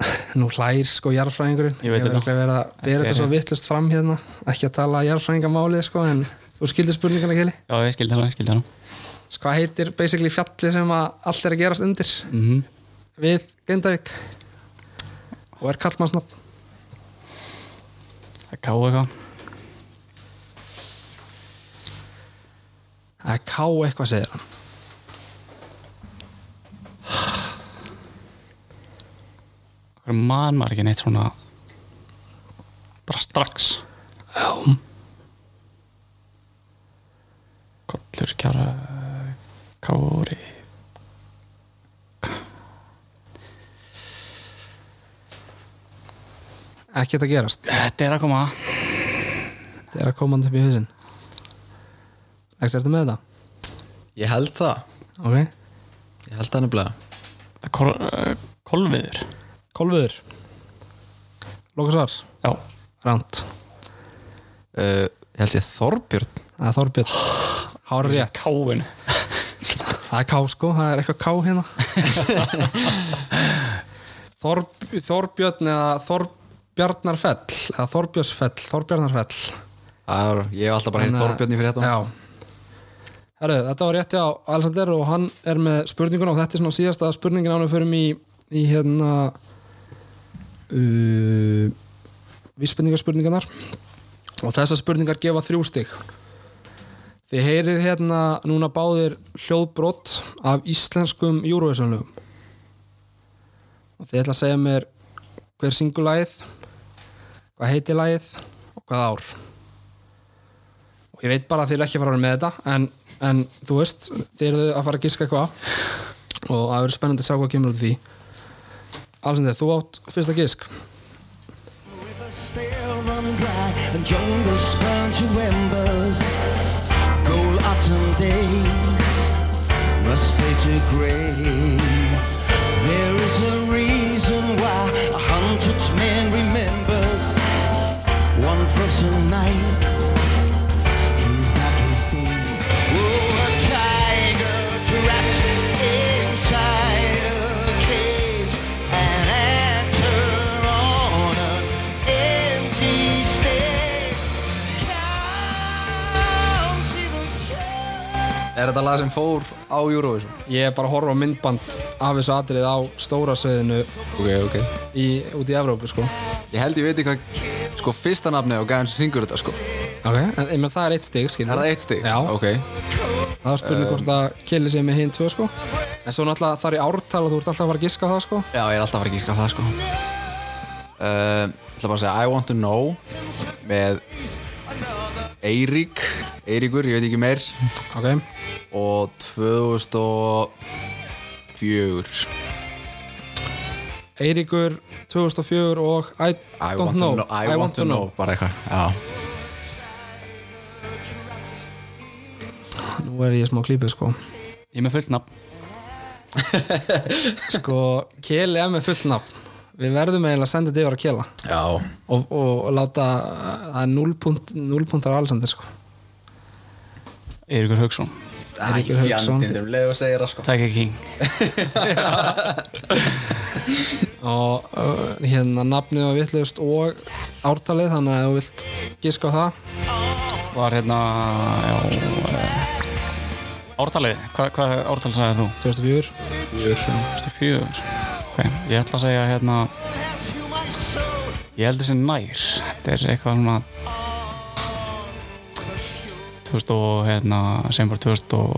A: nú hlær sko jarðfræðingurinn
B: Ég veit
A: hef
B: þetta.
A: örugglega verið að bera
B: Þetta er
A: þetta svo
B: rétt.
A: vittlust fram hérna ekki að tala jarðfræðingamálið sko en þú skildir spurningana Keli
B: Já, ég skildi hana, ég skildi hana
A: hvað Sko, heitir basically fjallið sem að allt er að gerast undir
B: mm
A: við Grindavík og er kallmannsnafn
B: Það er ká eitthvað
A: það er K eitthvað segir hann
B: Hvað mann maður ekki neitt svona bara strax Já Kollur, kjára Kári
A: ekkert að gerast,
B: Þetta er að koma
A: það er að koma hann upp í hausinn Lex, ertu með þetta?
C: Ég held það
A: ok,
C: Ég held það nefnilega
B: Kol, eh, Kolviður
A: Kolviður Lókasvar,
B: Já,
A: Rand
C: uh, Ég held ég Þorbjörn
A: það er Þorbjörn Hár rétt,
B: káin
A: það er K sko það er eitthvað K hérna Þorb, Þorbjörn eða Þorbjarnarfell eða Þorbjörnsfell, Þorbjarnarfell
C: Það er, Ég hef alltaf bara heilt
A: Þannig að-
C: Þorbjörn í fyrir þetta
A: Já Herru, þetta var rétti á Alexander og hann er með spurninguna og þetta er svona síðasta spurningin ánum fyrir mig í, í hérna uh, vísbendingarspurningarnar og þessar spurningar gefa þrjú stig þið heyrið hérna núna báðir hljóðbrott af íslenskum júruvísanlöfum og þið ætla að segja mér hver syngur lagið hvað heitir lagið og hvað ár og ég veit bara að þið er ekki að fara að vera með þetta en, en þú veist, þið eruð að fara að giska hvað og það verður spennandi að sjá hvað kemur út úr því Alessandr, þú átt fyrsta gisk
G: Still run dry and jungles burn to embers. Cold autumn days must fade to grey. There is a reason why a hundred men remembers one frozen night. His darkest day. Oh, a tiger trapped inside a cage, an actor on an empty stage. Counts even
C: Er þetta lag sem fór á Eurovision?
A: ég er bara að horfa á myndband af þessu atrið á stóra sveðinu
C: Ok, ok
A: í, út í Evrópu sko
C: Ég held ég veit hvað sko fyrsta nafni á gæðan sem syngur þetta sko
A: ok, en ég menn það er eitt stig skilur
C: Er það eitt stig?
A: Já,
C: Ok Um.
A: það var spurning hvort að kelli sér með hinn tvö sko en svo náttúrulega þar í ártal og þú ert alltaf að fara að giska á það sko
C: Já, ég er alltaf að fara að gíska á það sko uh, Ég ætla bara að segja I want to know með Eirík Eiríkur, ég veit ekki meir
A: ok,
C: og 2004
A: Eiríkur 2004 og I,
C: I
A: don't
C: want
A: know.
C: to know I, want to know, bara eitthvað Já,
A: nú er ég smá klípið sko
B: Ég er með fullt nafn
A: sko, Keli er með fullt nafn við verðum eiginlega að senda þetta yfir að Kela
C: já.
A: og, og, og láta það er 0 punkt- 0 punktar Alexander sko
B: Eiríkur Haugsson
A: Eiríkur
C: Æ,
A: Hauksson.
C: fjandinn, þeim leið að segja það sko
B: Tiger King
A: og uh, hérna nafnið var vittlust og ártalið þannig að ef þú vilt giska á það
B: var hérna já, eh, ártalið hvað hva ártalið sagði þú?
A: 2004
B: 2004 okay. ég ætla að segja hérna ég held þessi nær þetta er eitthvað svona 2000 og hérna sem bara 2000 og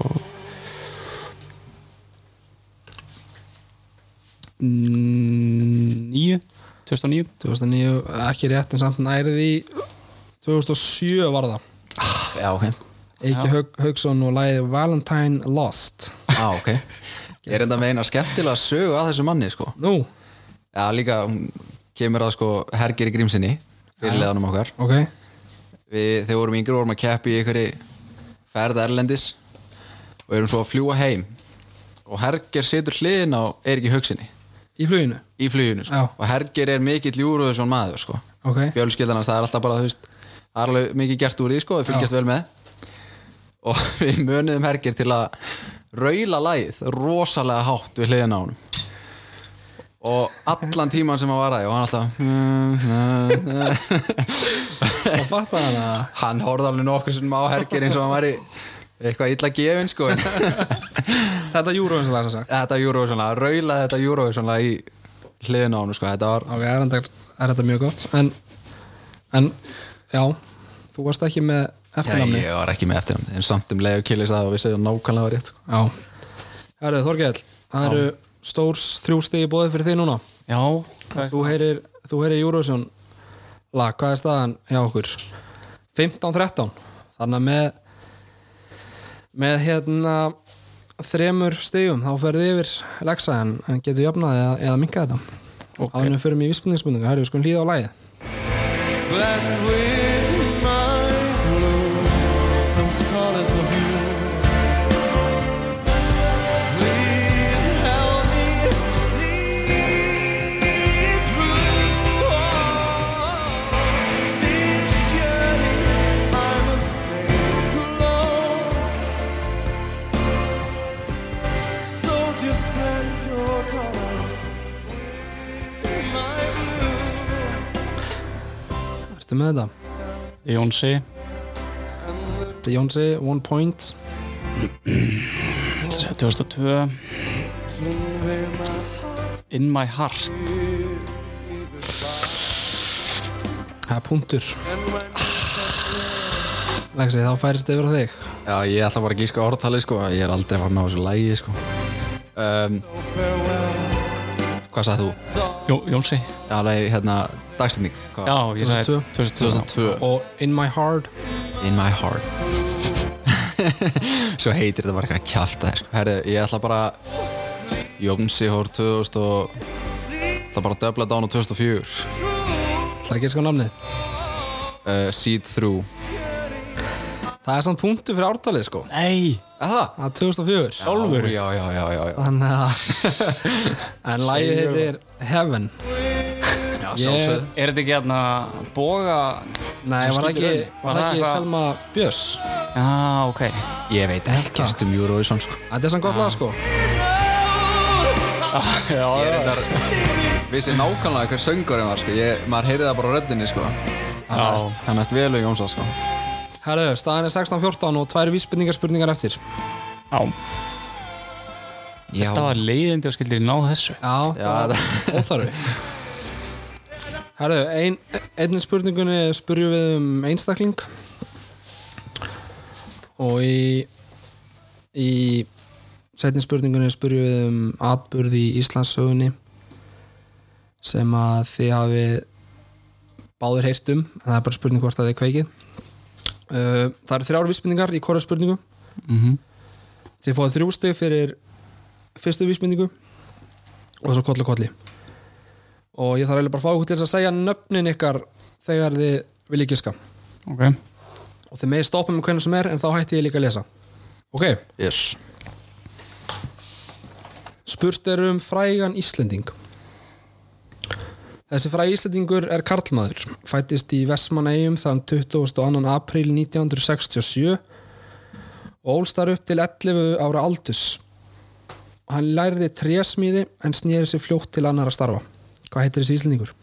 B: Mm, níu 2009
A: 2009, ekki rétt en samt nærið í 2007 var það
C: Já, ok
A: Eiki Haug, Haugsson og lagið Valentine Lost
C: Já, ok Ég er enda með eina skemmtilega sögu að þessu manni sko
A: Nú,
C: Já, líka hún kemur að sko Hergeri Grímsinni fyrirleðanum okkar
A: ok
C: við, þegar vorum yngri vorum að keppi í einhverju ferð erlendis og erum svo að fljúa heim og Herger situr hliðin á Eiriki Haugsinni
A: Í fluginu,
C: í fluginu sko.
A: Já.
C: og Herger er mikill Júruðsson maður sko.
A: ok
C: fjölskyldanast, það er alltaf bara þú veist, það er alveg mikið gert úr því sko, við fylgjast vel með og við mönuðum Herger til að raula lagið rosalega hátt við hliðin á honum og allan tíman sem hann var að því og hann alltaf
A: Og fatta hann að
C: hann horfði alveg nokkur sem á hergir eins og hann var í eitthvað illa gefin sko en
A: þetta júruvinslega sem sagt
C: þetta Eurovision lag, raulaði þetta Eurovision lag í hliðin á hann sko, þetta var
A: Ok, er, enda, er þetta mjög gott en, en, já þú varst ekki með
C: Já,
A: eftirnafni
C: ég var ekki með eftir hann, en samt um leiðu killis að og vissi að nákvæmlega var rétt sko.
A: Já Herðu, Þorgell, það eru stórs þrjú stigi bóðið fyrir þig núna
B: já, hvað er
A: Þú heyrir, þú heyrir Júruvísson lag, hvað er staðan hjá okkur? 15-13 Þannig að með með hérna þremur stigum, þá ferði yfir lexa en, en getur jafnað eða, eða minka þetta okay. Ánum fyrir mig í vísbundningsbundningu, herru, við skulum hlýða á lagið Ertu með þetta?
B: Jónsi
A: Þetta er Jónsi, one point
B: 2002 In My Heart
A: Það er punktur Lexi, Ah, þá færist yfir á þig
C: Já, ég ætla bara að gíska orðtalið sko Ég er aldrei farin á þessu lægi sko um, Hvað sagði þú?
B: Jó, Jónsi
C: Já, nei, hérna, dagstending
B: Já, ég sagði
A: 2002.
B: 2002
C: 2002
A: og In My Heart
C: In my heart Svo heitir þetta bara eitthvað kjálta sko. Herri, ég ætla bara Jónsi hór 2000 og ætla bara að döfla dán á 2004
A: Það ekki sko namnið
C: uh, Seed Through
A: Það er samt punktu fyrir ártalið sko
B: Nei,
C: Aha.
A: Það er 2004
B: Alvöru?
C: Já, já, já, já, já.
A: Þannig að En lagið heitir Heaven
C: já
A: Ég,
C: sjálfsögðu.
B: er þetta ekki hérna boga
A: nei,
B: Þú
A: var það
B: skýtur
A: ekki,
B: inn.
A: var það ekki
B: eitthvað-
A: Selma Björns
B: Já, Ah, ok
C: Ég veit ekkert um Eurovision sko.
A: Þetta er samt gott lag sko
B: Já,
C: Ég er
B: já,
C: eitthvað Vissi nákvæmlega hver söngurinn var sko. ég, Maður heyrði það bara á röddinni sko.
B: já
C: Kannast vel við Jónsson sko.
A: Herru, staðan er 16-14 og tvær vísbendingar spurningar eftir
B: Já,
C: Já,
B: þetta var leiðindi og skildir ná þessu
A: Já, það var óþarfi Herru, ein, einni spurningunni spurjum við um einstakling og í í setni spurningunni spurjum við um atburði í Íslandssögunni sem að þið hafi báður heyrt um en það er bara spurning hvort að þið kveikið uh, Það eru þrjár vísbendingar í hvora spurningu Þið fáið þrjú stig fyrir fyrstu vísbendingu og svo kollu kolli og ég þarf eiginlega bara að fá ykkur til þess að segja nöfnin ykkar þegar þið viljið giska og
B: Ok
A: þið meði stoppa með hvernig sem er en þá hætti ég líka að lesa ok,
C: yes.
A: spurt er um frægan Íslending þessi fræg Íslendingur er karlmaður fættist í Vestmanneigum þann 22. apríl 1967 og ólstar upp til 11 ára aldus hann lærði trésmíði en snýri sér fljótt til annar að starfa hvað heitir þessi Íslendingur?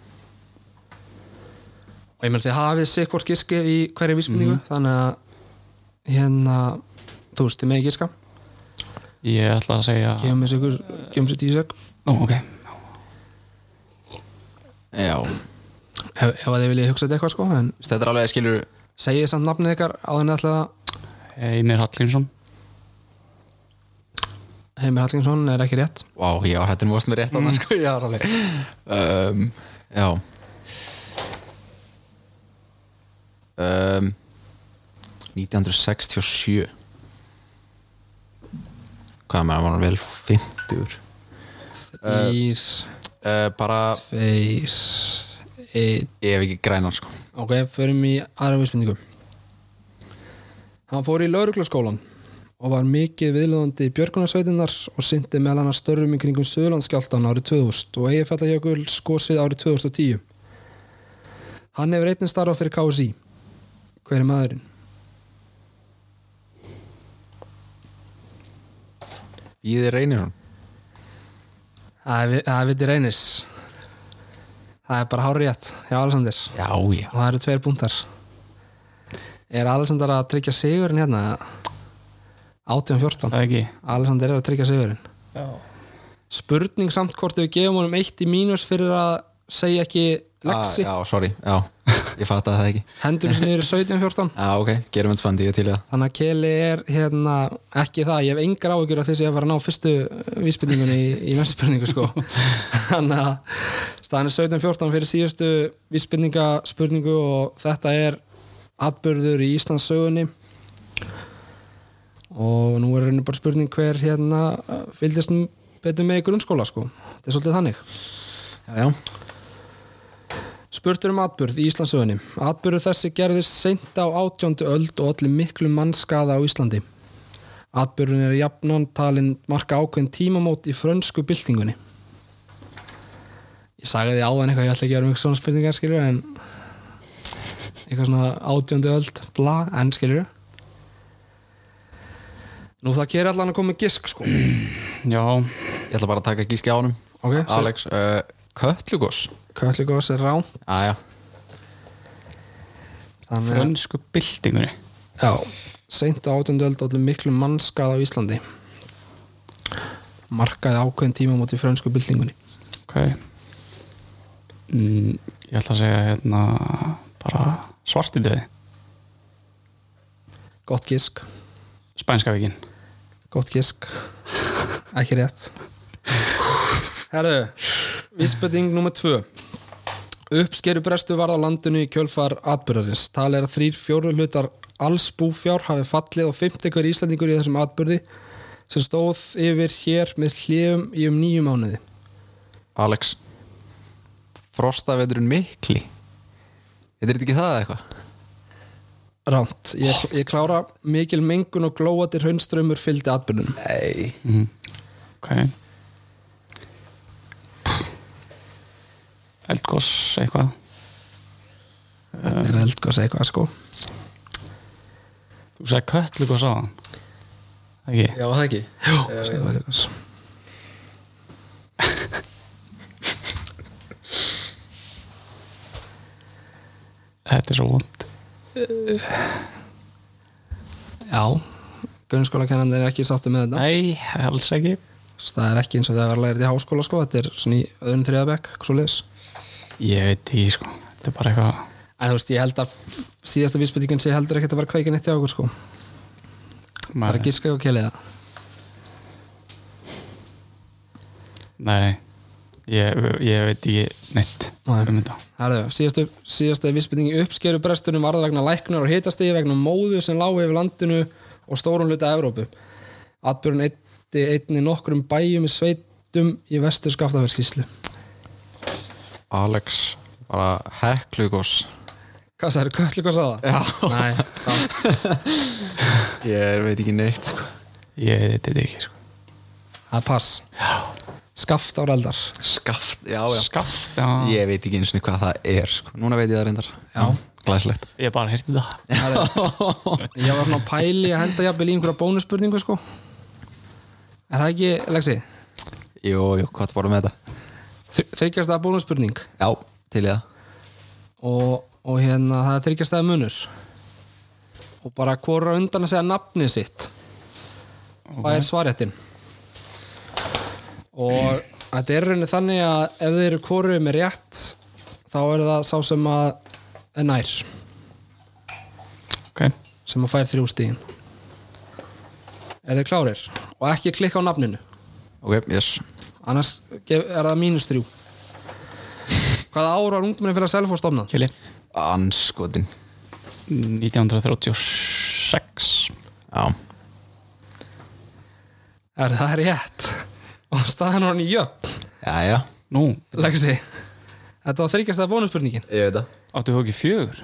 A: og ég meðal því hafið sig hvort giskið í hverju vísmyndingu þannig að hérna þú veist, þið megið giska
B: Ég ætla að segja
A: gefum þessu ykkur, gefum þessu tíu sek
B: Ó, ok
C: Já,
A: ef, ef að þið viljið hugsa þetta eitthvað sko en
C: þetta er alveg skilur
A: segið samt nafnið ykkar á þenni alltaf
B: Einir Hallgrímsson
A: Heimir Hallgrímsson er ekki rétt
C: Vá, ég var hættin vost með rétt annars sko, ég var alveg um, Já um, 1967 Hvað maður var vel 50
A: Ís,
C: uh, Bara,
A: feis einn
C: ég hef ekki grænan sko
A: ok, förum í aðra vísbendingu hann fór í lauruglaskólan og var mikið viðlöðandi í björgunarsveitinnar og syndi meðal hann að störrum í kringum Söðurlandskjáltan árið 2000 og Eyjafjallajökul skosið árið 2010 hann hefur einnig starfað fyrir KSI hver er maðurinn?
C: Íði reynir hún
A: Það er vi- það er viti reynis Það er bara hár rétt hjá Alessandir
C: Já, já
A: og það eru tveir búntar Er Alessandar að tryggja sigurinn hérna? 18-14
B: Það ekki
A: Alessandar er að tryggja sigurinn
B: Já
A: Spurning samt hvort við gefum honum eitt í mínus fyrir að segja ekki lexi
C: ah, Já, sorry, já, ég fattaði það ekki
A: Hendur sem niður í 17-14
C: Já, ok, gerum við spandi, ég er til í það
A: Þannig að Keli er hérna ekki það, ég hef engar áhyggjur af því sem ég að fara að ná fyrstu vísbyrningunni í, í næstu spurningu sko þannig að staðan er 17-14 fyrir síðustu vísbyrningaspurningu og þetta er atbyrður í Íslands sögunni og nú er raunin bara spurning hver hérna uh, fylgdist nú betur með í grunnskóla sko þetta er svolítið þannig
C: Já, já
A: Spurtur um atbyrð í Íslandsögunni. Atbyrður þessi gerðist seint á 18. öld og allir miklu mannskaða á Íslandi. Atbyrðun er jafnan talin marka ákveðin tímamót í frönsku byltingunni. Ég sagði því áðan eitthvað, ég ætla ekki að gera mjög svona spurningar skilur, en eitthvað svona 18. öld, bla, en skilur. Nú það gerir allan að koma með gisk, sko.
B: Já,
C: Ég ætla bara að taka gíski á honum
A: Ok, seg-
C: Alex, uh, Kötlugos Ah,
A: Köllugós er rán.
C: Já, já,
A: þannig að-
B: frönsku byltingunni
A: Já, seint á 18. öld ollu miklu mannskað á Íslandi markaði ákveðin tíma múti frönsku byltingunni
B: Ok mm, Ég ætla að segja hérna bara svartidöði
A: gott gísk
B: Spænska vikin
A: gott gísk ekki rétt herðu vísbending nummer tvö uppskeru brestu varð á landinu í kjölfar atbyrðarins talið er að þrýr fjóru hlutar alls búfjár hafi fallið og fimmt ykkur íslendingur í þessum atbyrði sem stóð yfir hér með hljöfum í um nýju mánuði
C: Alex Frostaveturinn mikli Þetta er ekki það eða eitthvað
A: Rámt, ég, ég klára mikil mengun og glóatir hundströmmur fylgdi atbyrðunum
C: Nei
B: Ok Eldgoss eitthvað
A: Þetta er eldgóðs eitthvað sko
B: Þú sagði köttlugoss á hann Ekki?
H: Já, það ekki
A: Segðu það eitthvað.
B: Þetta er svo vond
A: Já, grunnskólakennandi er ekki sáttu með þetta
B: Nei, alls ekki
A: Svo Það er ekki eins og það var lærið í háskóla sko Þetta er svona í öðrum þriðabekk, svo leis
B: Ég veit ekki sko Þetta er bara eitthvað
A: En þú veist, ég held að síðasta vísbendingin sé heldur ekkert að vera kveikin eitt í okkur sko Það er að gíska og kelið það
B: Nei, ég, ég veit ekki neitt
A: Nei.
B: um þetta
A: Herðu, síðastu, síðasta vísbendingi uppskeru brestunum varða vegna læknar og hitastigi vegna móðu sem lágu yfir landinu og stórun hluta Evrópu. Atbjörn eitti einni nokkrum bæjum í sveitum í vestur skaftafjörskíslu.
C: Alex bara heklugoss
A: Hvað sagði, köllu hvað sagði það? Já. Nei, það,
C: Ég veit ekki neitt sko
B: Ég veit þetta ekki sko
A: það er pass. Já. Skaftáreldar.
C: Skaft, já já
B: Skaft, já
C: Ég veit ekki eins og hvað það er sko Núna veit ég það reyndar
A: Já.
C: Glæslegt
B: Ég bara heyrti það
A: Herðu, ég var svona á pæli að henda jafnvel í einhverja bónusspurningu sko. Er það ekki, Lexi?
C: Jú, jú, hvað það bara með þetta
A: Þryggjast að bónusspurning
C: Já, til ég það
A: og, og hérna það er þryggjast að munur og bara hvora undan að segja nafnið sitt hvað er svarjættin og þetta er í rauninni þannig að ef þeir eru hvoruð með rétt þá er það sá sem að er nær
B: Ok,
A: sem að fær þrjú stíðin er þeir klárir og ekki klikka á nafninu
C: Ok, yes
A: annars gef- er það mínus þrjú hvaða ár var ungmennin fyrir að selfa og stofnað?
B: Kili
C: Anskotin
B: 1936
C: Já
A: Er það rétt? Og staðan var hann í jöfn,
C: Já, já
B: Nú,
A: Lexi. Þetta var þryggjast að bónuspurningin.
C: Ég veit það
B: áttu þú ekki fjögur?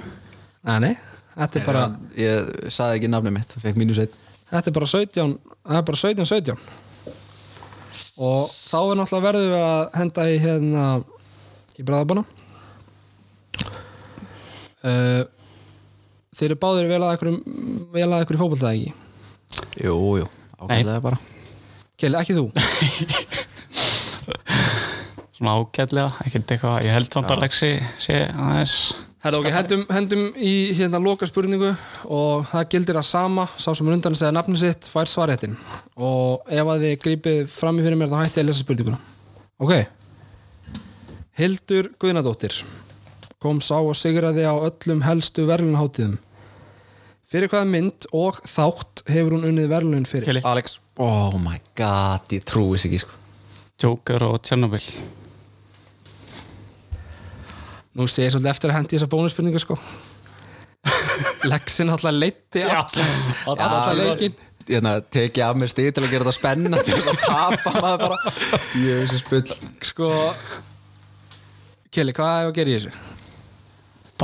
A: Nei, nei, þetta er bara,
C: Bara, ég saði ekki nafnið mitt Það fekk mínus einn
A: þetta er bara 17, það er bara 17, 17. Og þá er náttúrulega verðum við að henda í hérna í bræðabana. Uh, þeir eru báðir vel að einhverjum, vel að einhverjum fótboltaði ekki.
C: Jú, jú Ákvæmlega bara
A: Kelly, ekki þú.
B: Svona ágætlega, ekkert eitthvað Ég held samt að Lexi sé aðeins
A: Herra, ok, hendum, hendum í hérna loka spurningu og það gildir að sama sá sem er undan að segja nafni sitt fær svaréttin og ef að þið grípið fram í fyrir mér þá hætti ég að lesa spurninguna ok Hildur Guðnadóttir kom sá og sigraði á öllum helstu verðlunháttíðum fyrir hvaða mynd og þátt hefur hún unnið verðlun fyrir
B: Kili,
C: Alex Oh my god, ég trúi sig ekki sko
B: Joker og Tjernobyl
A: nú sé ég svolítið eftir að hendi þessa bónusspurningu sko Lexin alltaf leitti alltaf leikin
C: Hérna, teki af mér stíð til að gera það spennandi til að tapa maður bara Ég veist spull
A: Sko Kelly, hvað er að gera í þessu?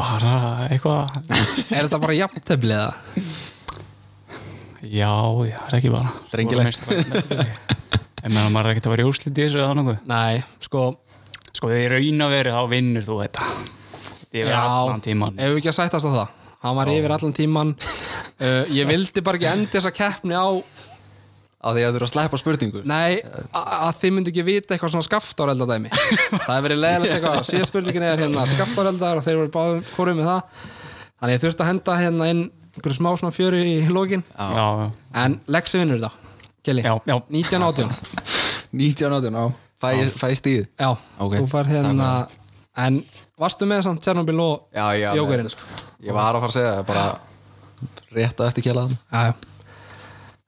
B: Bara eitthvað
A: Er þetta bara jafntefli eða?
B: Já, já, það er ekki bara
C: Drengilegt.
B: En meðan maður er ekkert að vera í úrslit í þessu eða nokkuð
A: Nei, sko
B: Sko við raun að veru þá vinnur þú þetta Þetta er verið allan tíman
A: Ef við ekki að sættast á það Hann var yfir allan tíman uh, Ég vildi bara ekki enda þessa keppni á
C: Af því að þú eru að sleppa spurningu
A: Nei, a- að þið myndu ekki vita eitthvað svona skaftárelda dæmi Það hefur verið leiðilegt eitthvað Síðan spurningin er hérna skaftáreldar og þeir voru báðum hvorum með það Þannig ég þurfti að henda hérna inn einhverju smá svona fjöru í lokin
B: Já, já,
A: En Lexi vinnur þetta Kelly,
B: Já, já.
A: 1918
C: 19 átjón á Fæ, fæ stíð
A: Já,
C: Ok.
A: þú fær hérna En varstu með samt Tjernobyl og
C: Já, sko- já, með
A: Jókerinn?
C: þetta, Ég var að fara að segja það bara rétt á eftir kjalaðan
A: Já,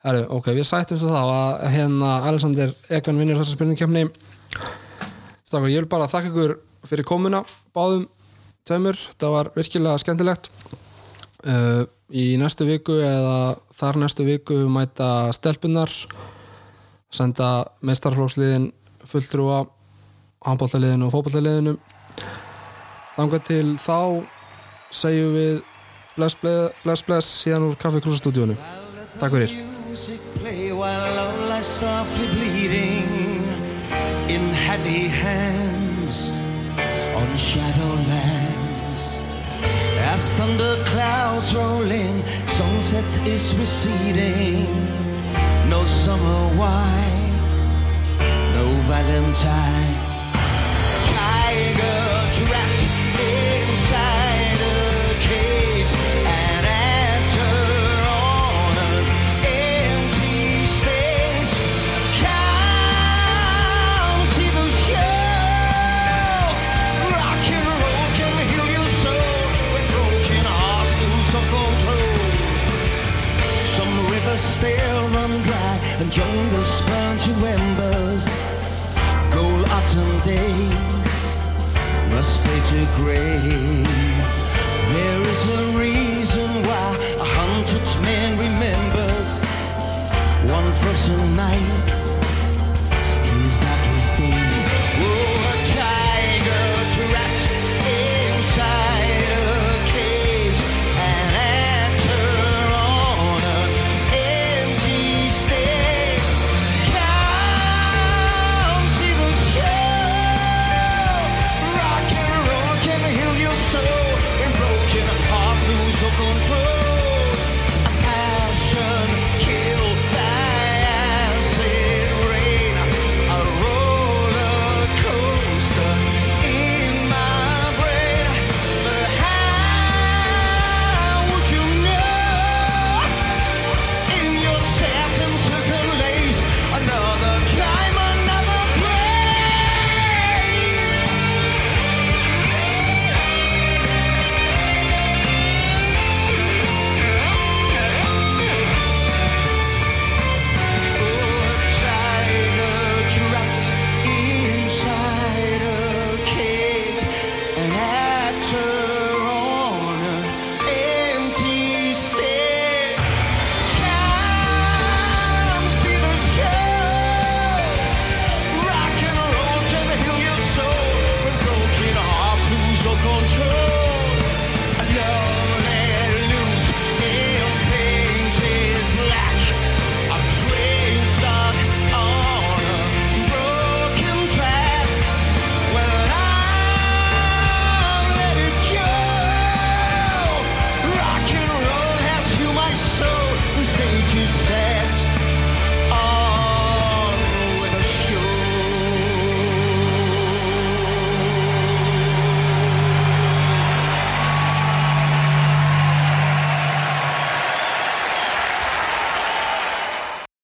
A: Heru, ok, við sættum svo þá að hérna Alexander Egan vinnur þessa spurningkefni Strákar, ég vil bara þakka ykkur fyrir komuna báðum tveimur, það var virkilega skemmtilegt uh, í næstu viku eða þar næstu viku mæta stelpunar senda meistarflóksliðin fulltrúa handbóltaliðinu og fótbóltaliðinu þangað til þá segjum við bless bless, bless, bless síðan úr Kaffi Krúsa stúdíónu Takk fyrir
G: Music play while all are softly bleeding in heavy hands on shadowlands. As thunder clouds roll in, sunset is receding. No summer wine, no Valentine. Tiger trapped inside a cage, an actor on an empty stage. Come see the show. Rock and roll can heal your soul when broken hearts lose some control. Some rivers still run dry and jungles burn to embers. Gold autumn days must fade to grey. There is a reason why a hundred men remembers one frozen night. His darkest day.